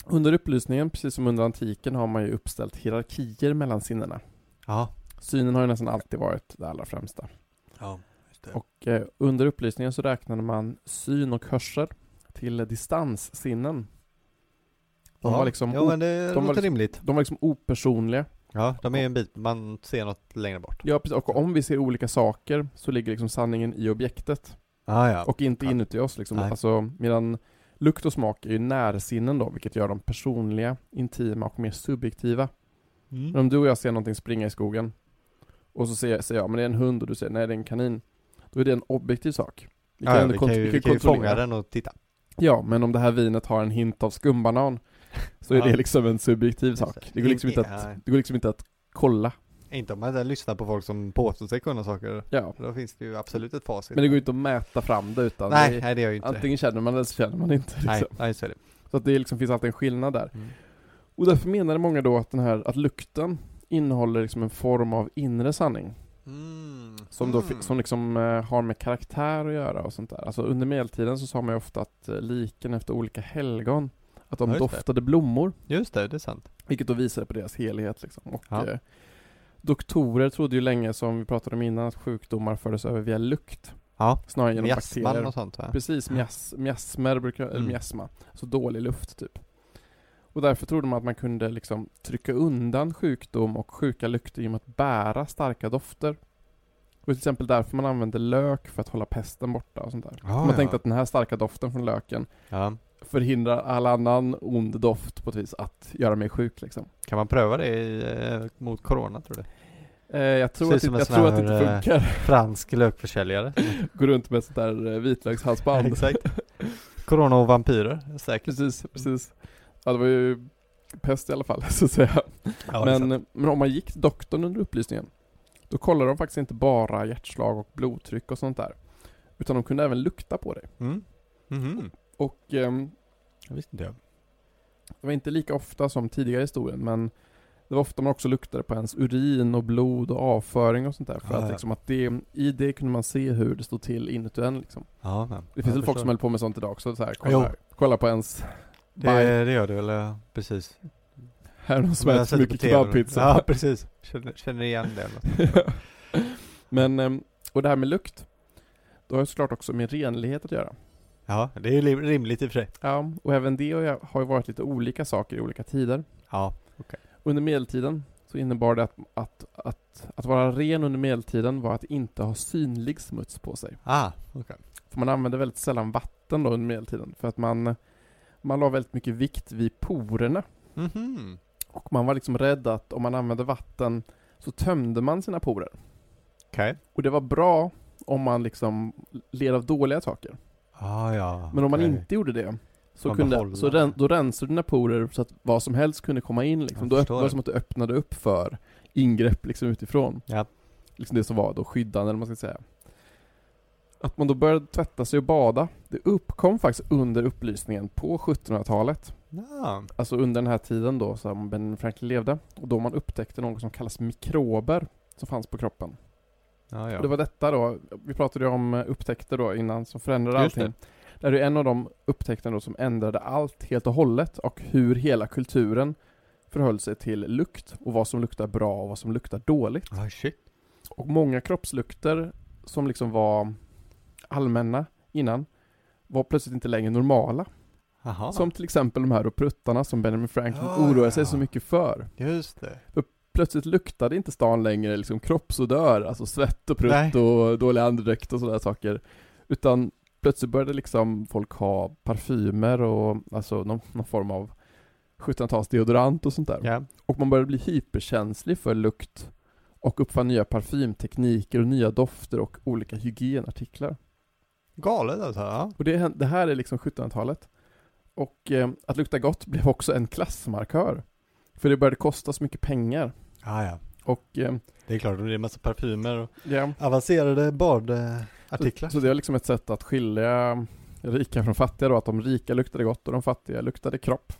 S2: under upplysningen, precis som under antiken, har man ju uppställt hierarkier mellan sinnena.
S1: Ja.
S2: Synen har ju nästan alltid varit det allra främsta.
S1: Ja.
S2: Och eh, under upplysningen så räknade man syn och hörsel till distanssinnen. De var liksom,
S1: jo, men det
S2: de
S1: låter
S2: var liksom-
S1: rimligt.
S2: o- de var liksom opersonliga.
S1: Ja, de är en bit, man ser något längre bort.
S2: Ja, precis. Och om vi ser olika saker så ligger liksom sanningen i objektet.
S1: Ah, ja.
S2: Och inte
S1: Ja.
S2: inuti oss liksom.
S1: Nej.
S2: Alltså, medan lukt och smak är ju närsinnen då, vilket gör dem personliga, intima och mer subjektiva.
S1: Mm.
S2: Men om du och jag ser någonting springa i skogen och så säger, säger jag men det är en hund och du säger nej det är en kanin. Då är det en objektiv sak. Vi
S1: Ja, ja, vi
S2: kont-
S1: kan ju, vi kan ju
S2: kontrollera.
S1: fånga den och titta.
S2: Ja, men om det här vinet har en hint av skumbanan så är
S1: Ja.
S2: det liksom en subjektiv sak.
S1: det.
S2: Det går liksom inte att,
S1: Ja.
S2: det går liksom inte att kolla.
S1: Inte om man inte lyssnar på folk som påstår sig kunna saker.
S2: Ja.
S1: Då finns det ju absolut ett facit.
S2: Men det går ju inte att mäta fram det utan
S1: nej,
S2: det,
S1: nej, det gör ju inte.
S2: antingen känner man det eller så känner man inte. Liksom.
S1: nej, nej, så är det.
S2: Så att det liksom finns alltid en skillnad där.
S1: Mm.
S2: Och därför menade många då att den här, att lukten innehåller liksom en form av inre sanning. Mm. Som då
S1: Mm.
S2: fi- som liksom eh, har med karaktär att göra och sånt där. Alltså under medeltiden så sa man ju ofta att eh, liken efter olika helgon, att de
S1: Ja, just det.
S2: doftade blommor.
S1: Just det, det är sant.
S2: Vilket då visar på deras helhet liksom. Och
S1: Ja.
S2: eh, doktorer trodde ju länge, som vi pratade om innan, att sjukdomar fördes över via lukt.
S1: Ja.
S2: Snarare genom
S1: Miasman
S2: bakterier.
S1: och sånt va?
S2: Precis, mjas, miasmer brukar, eller
S1: Mm.
S2: miasma. Så dålig luft typ. Och därför trodde man att man kunde liksom trycka undan sjukdom och sjuka lukter genom att bära starka dofter. Och till exempel därför man använde lök för att hålla pesten borta och sånt där.
S1: Ja,
S2: man
S1: Ah, ja.
S2: tänkte att den här starka doften från löken
S1: Ja.
S2: förhindrar all annan ond doft på ett vis att göra mig sjuk liksom.
S1: Kan man pröva det i, eh, mot corona tror du?
S2: Eh, jag tror,
S1: Ser
S2: att
S1: ut
S2: det,
S1: som en
S2: jag
S1: sån
S2: tror att det
S1: här, eh,
S2: inte funkar.
S1: Fransk lökförsäljare.
S2: Gå runt med ett sånt där eh, vitlökshalsband.
S1: Exakt. Corona och vampyrer, säkert.
S2: precis, precis. Ja, det var ju pest i alla fall, så att säga.
S1: Ja, det är sant.
S2: men, men om man gick till doktorn under upplysningen, då kollade de faktiskt inte bara hjärtslag och blodtryck och sånt där. Utan de kunde även lukta på dig.
S1: Mm. Mhm.
S2: Och ehm,
S1: Jag visste inte det.
S2: det var inte lika ofta som tidigare i historien, men det var ofta man också luktade på ens urin och blod och avföring och sånt där. För
S1: Ja,
S2: att,
S1: Ah, ja.
S2: liksom, att det, i det kunde man se hur det stod till inuti en liksom.
S1: Ja, men.
S2: Det finns
S1: jag
S2: väl folk som
S1: förstår.
S2: höll på med sånt idag också, så här,
S1: Jo.
S2: kolla, kolla på ens bajs.
S1: det, det gör det väl, ja. precis.
S2: Här är någon som
S1: Men jag
S2: äter
S1: har
S2: för
S1: sett det
S2: mycket
S1: på TV.
S2: kebabpizza.
S1: Ja, precis. Känner, känner igen det.
S2: Men, ehm, och det här med lukt, då har det såklart också med renlighet att göra.
S1: Ja, det är ju lim- rimligt i och för sig.
S2: Ja, och även det har ju- har ju varit lite olika saker i olika tider.
S1: Ja.
S2: Under medeltiden så innebar det att, att, att, att vara ren under medeltiden var att inte ha synlig smuts på sig.
S1: Ah, okej.
S2: För man använde väldigt sällan vatten då under medeltiden, för att man, man la väldigt mycket vikt vid porerna.
S1: Mhm.
S2: Och man var liksom rädd att om man använde vatten så tömde man sina porer.
S1: Okej.
S2: Och det var bra om man liksom led av dåliga saker.
S1: Ah, ja.
S2: Men om man
S1: okej.
S2: inte gjorde det så,
S1: Man
S2: kunde,
S1: behåller.
S2: så ren, då rensade dina porer så att vad som helst kunde komma in. Liksom.
S1: Jag
S2: Då öpp-
S1: förstår.
S2: var det som att du öppnade upp för ingrepp liksom utifrån.
S1: Ja.
S2: Liksom det som var då skyddande eller vad man ska säga. Att man då började tvätta sig och bada, det uppkom faktiskt under upplysningen på 1700-talet.
S1: Ja.
S2: alltså under den här tiden då som Benjamin Franklin levde och då man upptäckte något som kallas mikrober som fanns på kroppen.
S1: Ja, ja.
S2: Och det var detta då, vi pratade ju om eh, upptäckter då innan som förändrade
S1: Just
S2: allting. Det här är en av de upptäckterna då som ändrade allt helt och hållet och hur hela kulturen förhöll sig till lukt och vad som luktar bra och vad som luktar dåligt.
S1: Ah, shit.
S2: Och många kroppslukter som liksom var allmänna innan var plötsligt inte längre normala.
S1: Jaha.
S2: Som till exempel de här pruttarna som Benjamin Franklin
S1: Ja,
S2: oroade
S1: Ah, ja.
S2: sig så mycket för.
S1: Just det.
S2: Plötsligt luktade inte stan längre liksom kroppsodör, alltså svett och prutt
S1: Nej.
S2: och dålig andedräkt och sådana saker. Utan plötsligt började liksom folk ha parfymer och alltså någon, någon form av 1700-tals deodorant och sånt där.
S1: Ja.
S2: Och man började bli hyperkänslig för lukt och uppfann nya parfymtekniker och nya dofter och olika hygienartiklar.
S1: Galet alltså. Ja.
S2: Och det, hän- det här är liksom 1700-talet. Och eh, att lukta gott blev också en klassmarkör. För det började kosta så mycket pengar.
S1: Ah, ja.
S2: Och eh,
S1: Det är klart, det är en massa parfymer och
S2: ja,
S1: avancerade badartiklar.
S2: Så, så det var liksom ett sätt att skilja rika från fattiga då, att de rika luktade gott och de fattiga luktade kropp.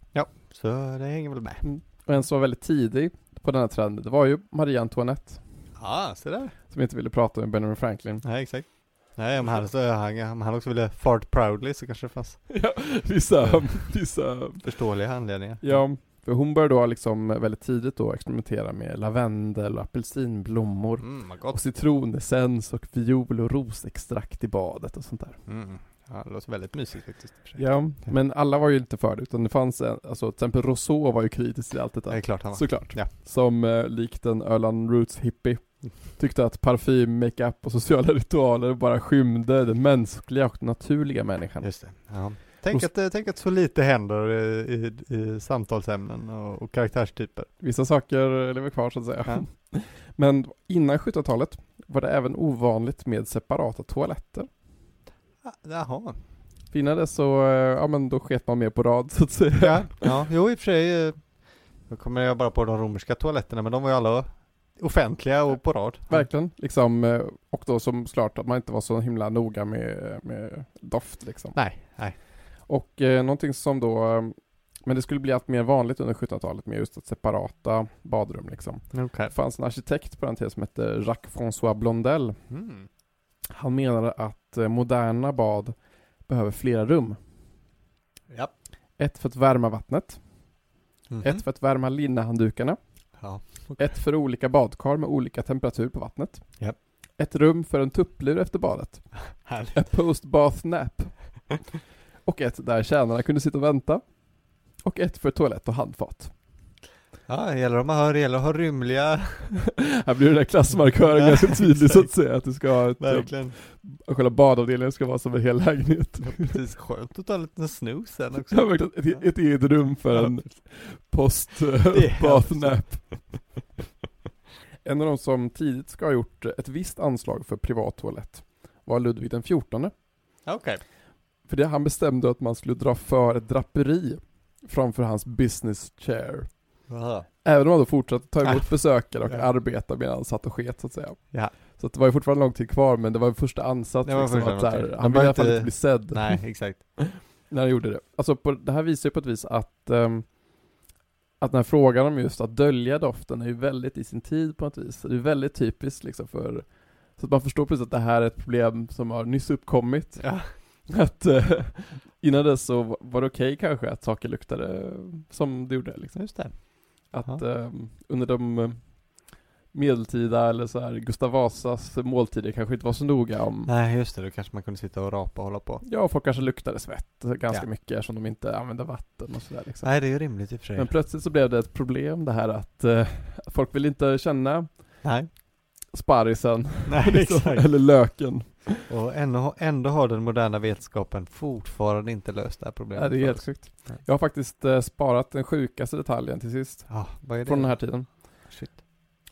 S1: Så det hänger väl med.
S2: Och en som var väldigt tidig på den här trenden, det var ju Marie Antoinette,
S1: Ja, ah, se där.
S2: som inte ville prata med Benjamin Franklin.
S1: Nej, exakt. Nej, om han, så, han, om han också ville fart proudly så kanske det fanns
S2: Ja, vissa, vissa
S1: förståeliga anledningar.
S2: Ja, för hon började då liksom väldigt tidigt då experimentera med lavendel och apelsinblommor.
S1: Mm, vad
S2: Och
S1: gott.
S2: citronessens och viol och rosextrakt i badet och sånt där.
S1: Mm. Ja, det låter väldigt mysigt faktiskt. i och för sig.
S2: Ja, men alla var ju inte för det, utan det fanns en, alltså till exempel Rousseau var ju kritisk till allt
S1: Det är
S2: detta.
S1: klart han var.
S2: Såklart.
S1: Ja.
S2: Som eh, likt en Öland Roots hippie tyckte att parfym, makeup och sociala ritualer bara skymde den mänskliga och naturliga människan.
S1: Just det. Ja. Tänk, att, eh, tänk att så lite händer eh, i, i samtalsämnen och, och karaktärstyper.
S2: Vissa saker lever kvar så att säga.
S1: Ja.
S2: Men innan 1700-talet var det även ovanligt med separata toaletter.
S1: Jaha.
S2: Innan dess så, eh, ja men då sket man mer på rad så att säga.
S1: Ja. ja, jo i och för sig. eh, Då kommer jag bara på de romerska toaletterna, men de var ju alla offentliga och på rad.
S2: Verkligen. Liksom, eh, och då som klart att man inte var så himla noga med, eh, med doft liksom.
S1: Mm. Nej, nej.
S2: Och eh, någonting som då, eh, men det skulle bli allt mer vanligt under 1700-talet med just att separata badrum liksom.
S1: Okej.
S2: Det fanns en arkitekt på den tiden som hette Jacques François Blondel.
S1: Mm.
S2: Han menade att eh, moderna bad behöver flera rum.
S1: Ja.
S2: Ett för att värma vattnet,
S1: Mhm.
S2: ett för att värma linnehanddukarna,
S1: Ja.
S2: ett för olika badkar med olika temperatur på vattnet.
S1: Ja.
S2: Ett rum för en tupplur efter badet.
S1: Härligt.
S2: A post-bath nap. Och ett där tjänarna kunde sitta och vänta. Och ett för toalett och handfat.
S1: Ja, det gäller om man har, det gäller att ha rymliga.
S2: Här blir den där klassmarkören
S1: Ja,
S2: ganska tydlig så att säga. Att du ska ha ett,
S1: Verkligen.
S2: själva badavdelningen ska vara som en hel lägenhet.
S1: Precis, skönt att ta en liten snus sen också.
S2: Ja, verkligen. Ett, ett eget rum för en
S1: Det är
S2: post-bath nap. En av de som tidigt ska ha gjort ett visst anslag för privat toalett var Ludvig den XIV.
S1: Okej.
S2: För det han bestämde att man skulle dra för ett draperi framför hans business chair.
S1: Ja.
S2: Även om han då fortsatte ta emot
S1: Ah.
S2: besökare och
S1: Ja.
S2: arbeta medan han satt och sket så att säga.
S1: Ja.
S2: Så att det var ju fortfarande lång tid kvar men det var ju första ansats.
S1: Det var
S2: liksom,
S1: första
S2: att, så här,
S1: ansats.
S2: han
S1: De var
S2: ville i alla fall
S1: inte-
S2: inte bli sedd
S1: Nej, exakt.
S2: när han gjorde det. Alltså på, det här visar ju på ett vis att, ehm, att den här frågan om just att dölja doften är ju väldigt i sin tid på något vis. Det är väldigt typiskt liksom för så att man förstår precis att det här är ett problem som har nyss uppkommit.
S1: Ja.
S2: Att eh, innan dess så va- var det okej kanske att saker luktade som det gjorde liksom.
S1: Just det.
S2: Att ehm, under de eh, medeltida eller så här Gustav Vasas måltider kanske inte var så noga om
S1: Nej, just det. Då kanske man kunde sitta och rapa och hålla på.
S2: Ja, folk kanske luktade svett ganska
S1: Ja.
S2: mycket eftersom de inte använde vatten och sådär liksom.
S1: Nej, det är ju rimligt i och för sig.
S2: Men plötsligt så blev det ett problem det här att eh, folk vill inte känna
S1: Nej.
S2: sparrisen
S1: Nej,
S2: liksom,
S1: exakt.
S2: eller löken.
S1: Och ändå, ändå har den moderna vetenskapen fortfarande inte löst det här problemet.
S2: Nej, det är
S1: för
S2: helt
S1: oss.
S2: sjukt.
S1: Nej.
S2: Jag har faktiskt eh, sparat den sjukaste detaljen till sist
S1: Ja, vad är det?
S2: från den här tiden.
S1: Shit.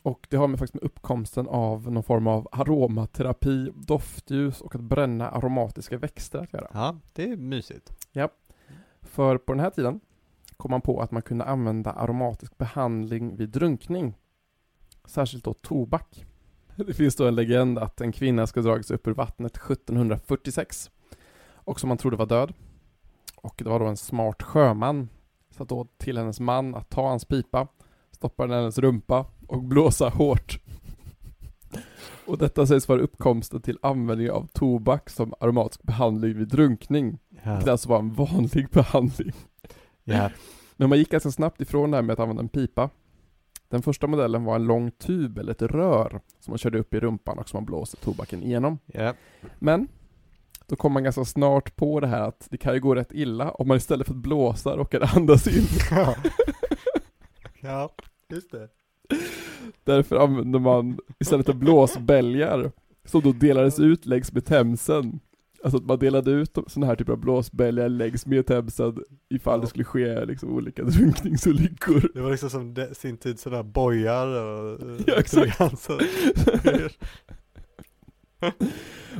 S2: Och det har med faktiskt med uppkomsten av någon form av aromaterapi, doftljus och att bränna aromatiska växter att göra.
S1: Ja, det är mysigt.
S2: För på den här tiden kom man på att man kunde använda aromatisk behandling vid drunkning. Särskilt då tobak. Det finns då en legend att en kvinna ska ha dragits upp ur vattnet 1746 och som man trodde var död. Och det var då en smart sjöman satt då till hennes man att ta hans pipa, stoppa den i hennes rumpa och blåsa hårt. Och detta sägs vara uppkomsten till användning av tobak som aromatisk behandling vid drunkning. Det
S1: Ja.
S2: alltså var en vanlig behandling.
S1: ja.
S2: Men man gick ganska snabbt ifrån det här med att använda en pipa. Den första modellen var en lång tub eller ett rör som man körde upp i rumpan och som man blåste tobaken igenom.
S1: ja.
S2: Men då kom man ganska snart på det här att det kan ju gå rätt illa om man istället för att blåsa råkar andas in.
S1: Ja. ja, just det.
S2: Därför använde man istället för blåsbälgar som då delades ut längs med Themsen. Alltså att man delade ut sådana här typer av blåsbälgar längs med Themsen ifall det
S1: Ja.
S2: skulle ske liksom olika drunkningsolyckor.
S1: Det var liksom som de, sin tid sådana bojar och eh,
S2: Ja, exakt.
S1: trugansar.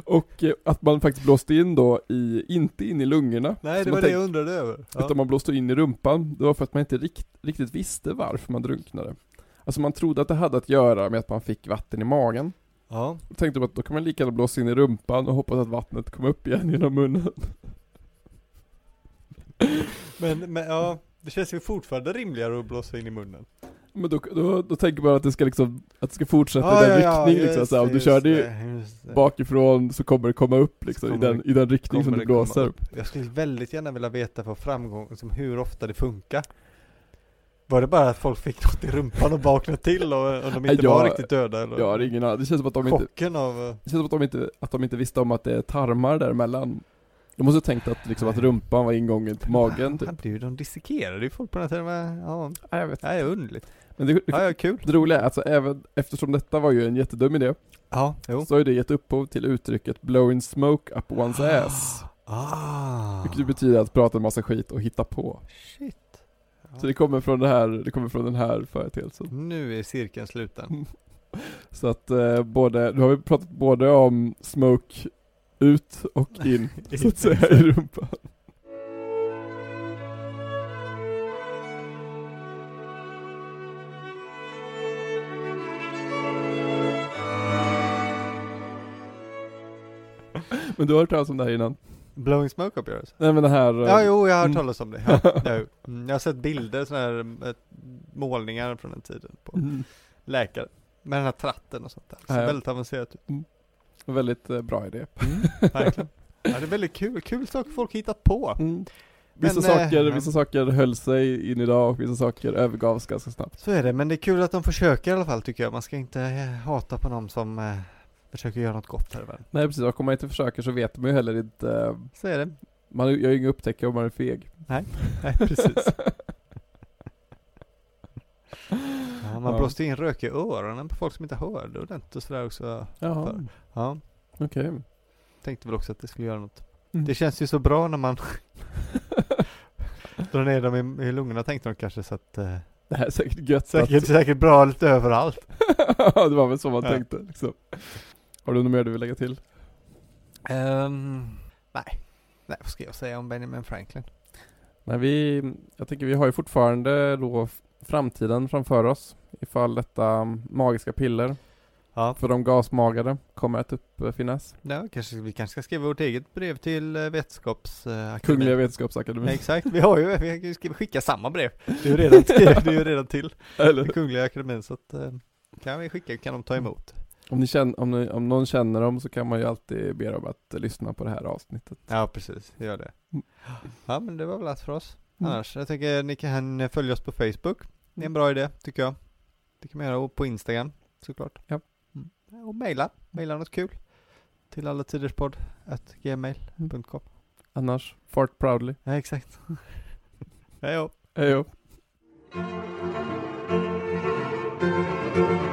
S2: Och eh, att man faktiskt blåste in då i, inte in i lungorna.
S1: Nej, det
S2: som man
S1: var det
S2: tänk-
S1: jag undrade över. Ja.
S2: Utan man blåste in i rumpan. Det var för att man inte rikt, riktigt visste varför man drunknade. Alltså man trodde att det hade att göra med att man fick vatten i magen.
S1: ja.
S2: Då tänkte man att då kan man lika gärna blåsa in i rumpan och hoppas att vattnet kom upp igen genom munnen.
S1: Men, men ja, det känns ju fortfarande rimligare att blåsa in i munnen.
S2: Men då, då, då tänker man att det ska liksom, att det ska fortsätta
S1: Ja,
S2: i den
S1: ja, ja,
S2: riktning liksom.
S1: just
S2: Så här, om
S1: det,
S2: du
S1: just
S2: kör det
S1: det, just det.
S2: bakifrån så kommer det komma upp liksom i
S1: kommer
S2: den, i den
S1: kommer
S2: riktning som du
S1: det komma
S2: blåser.
S1: Jag skulle väldigt gärna vilja veta för framgång, liksom hur ofta det funkar. Var det bara att folk fick något i rumpan och vaknade till och, och de inte
S2: Jag-
S1: var riktigt döda? Eller?
S2: Jag har ingen aning. Det känns som att de inte,
S1: Chocken av... eh,
S2: Det känns som att de inte, att de inte visste om att det är tarmar däremellan. De måste ha tänkt att, liksom, att rumpan var ingången till magen typ.
S1: Han, du, de dissekerade ju folk på den här tiden. men, Ja,
S2: Ja, jag vet.
S1: det är underligt.
S2: Men det,
S1: Ja,
S2: det,
S1: ja, kul.
S2: det roliga är alltså även, eftersom detta var ju en jättedum idé,
S1: Ja, jo.
S2: så har ju det gett upphov till uttrycket 'blowing smoke up one's ass'
S1: Ah.
S2: Vilket ju betyder att prata en massa skit och hitta på.
S1: Shit. Ja.
S2: Så det kommer från, det här, det kommer från den här företeelsen.
S1: Nu är cirkeln
S2: Mm.
S1: sluten.
S2: Så att eh, både, nu har vi pratat både om smoke ut och in, så att säga, i rumpan. Men du har hört talas om det här innan?
S1: Blowing smoke up your ass?
S2: Nej men det här... eh,
S1: Ja, jo, jag har hört
S2: Mm.
S1: talas om det. Ja, det har jag gjort. Mm, jag har sett bilder, sådana här eh, målningar från den tiden på
S2: Mm.
S1: läkare. Med den här tratten och sånt där. Ser
S2: Ja, ja.
S1: väldigt avancerat ut.
S2: Väldigt eh, bra idé.
S1: Verkligen. Ja, det är väldigt kul. Kul saker folk hittat på.
S2: Vissa,
S1: Mm. Men, eh,
S2: saker,
S1: ja.
S2: vissa saker höll sig in idag och vissa saker övergavs ganska snabbt.
S1: Så är det, men det är kul att de försöker i alla fall tycker jag. Man ska inte eh, hata på någon som eh, försöker göra något gott här i världen.
S2: Nej precis, och om man inte försöker så vet man ju heller inte. eh,
S1: Så är det.
S2: Man gör ju inga upptäckare om man är feg.
S1: Nej, precis. Ja, man
S2: Ja.
S1: blåste in rök i öronen på folk som inte hörde ordentligt och sådär också.
S2: Jaha,
S1: Ja,
S2: okej.
S1: tänkte väl också att det skulle göra något.
S2: Mm.
S1: Det känns ju så bra när man drar ner dem i, i lungorna tänkte de kanske så att eh,
S2: Det här är säkert gött.
S1: säkert, säkert bra lite överallt.
S2: Att... det var väl så man
S1: Ja.
S2: tänkte liksom. Har du något mer du vill lägga till?
S1: Ehm, nej. nej, vad ska jag säga om Benjamin Franklin?
S2: Nej, vi, jag tänker vi har ju fortfarande då f- framtiden framför oss ifall detta magiska piller
S1: Ja,
S2: för de gasmagade kommer att uppfinnas.
S1: ja kanske, vi kanske ska skriva vårt eget brev till eh, Vetenskapsakademin.
S2: Kungliga Vetenskapsakademin.
S1: Exakt, vi har ju, vi kan ju skriva- skicka samma brev. Det är ju redan, det är ju redan till
S2: Eller,
S1: den Kungliga Akademin så att eh, kan vi skicka, kan de ta emot.
S2: om, ni känner, om, ni, om någon känner dem så kan man ju alltid be dem att eh, lyssna på det här avsnittet.
S1: Ja, precis, gör det. Ja, men det var väl allt för oss.
S2: Mm.
S1: Annars, jag tänker ni kan följa oss på Facebook. Det är en bra idé, tycker jag. Det kan man göra och på Instagram, såklart.
S2: Ja.
S1: Mm. Och mejla, mejla något kul. Till alla tiders podd, at gmail.com.
S2: Mm. Annars, fart proudly.
S1: Ja, exakt. Hej då.
S2: Hej då.
S1: Thank you.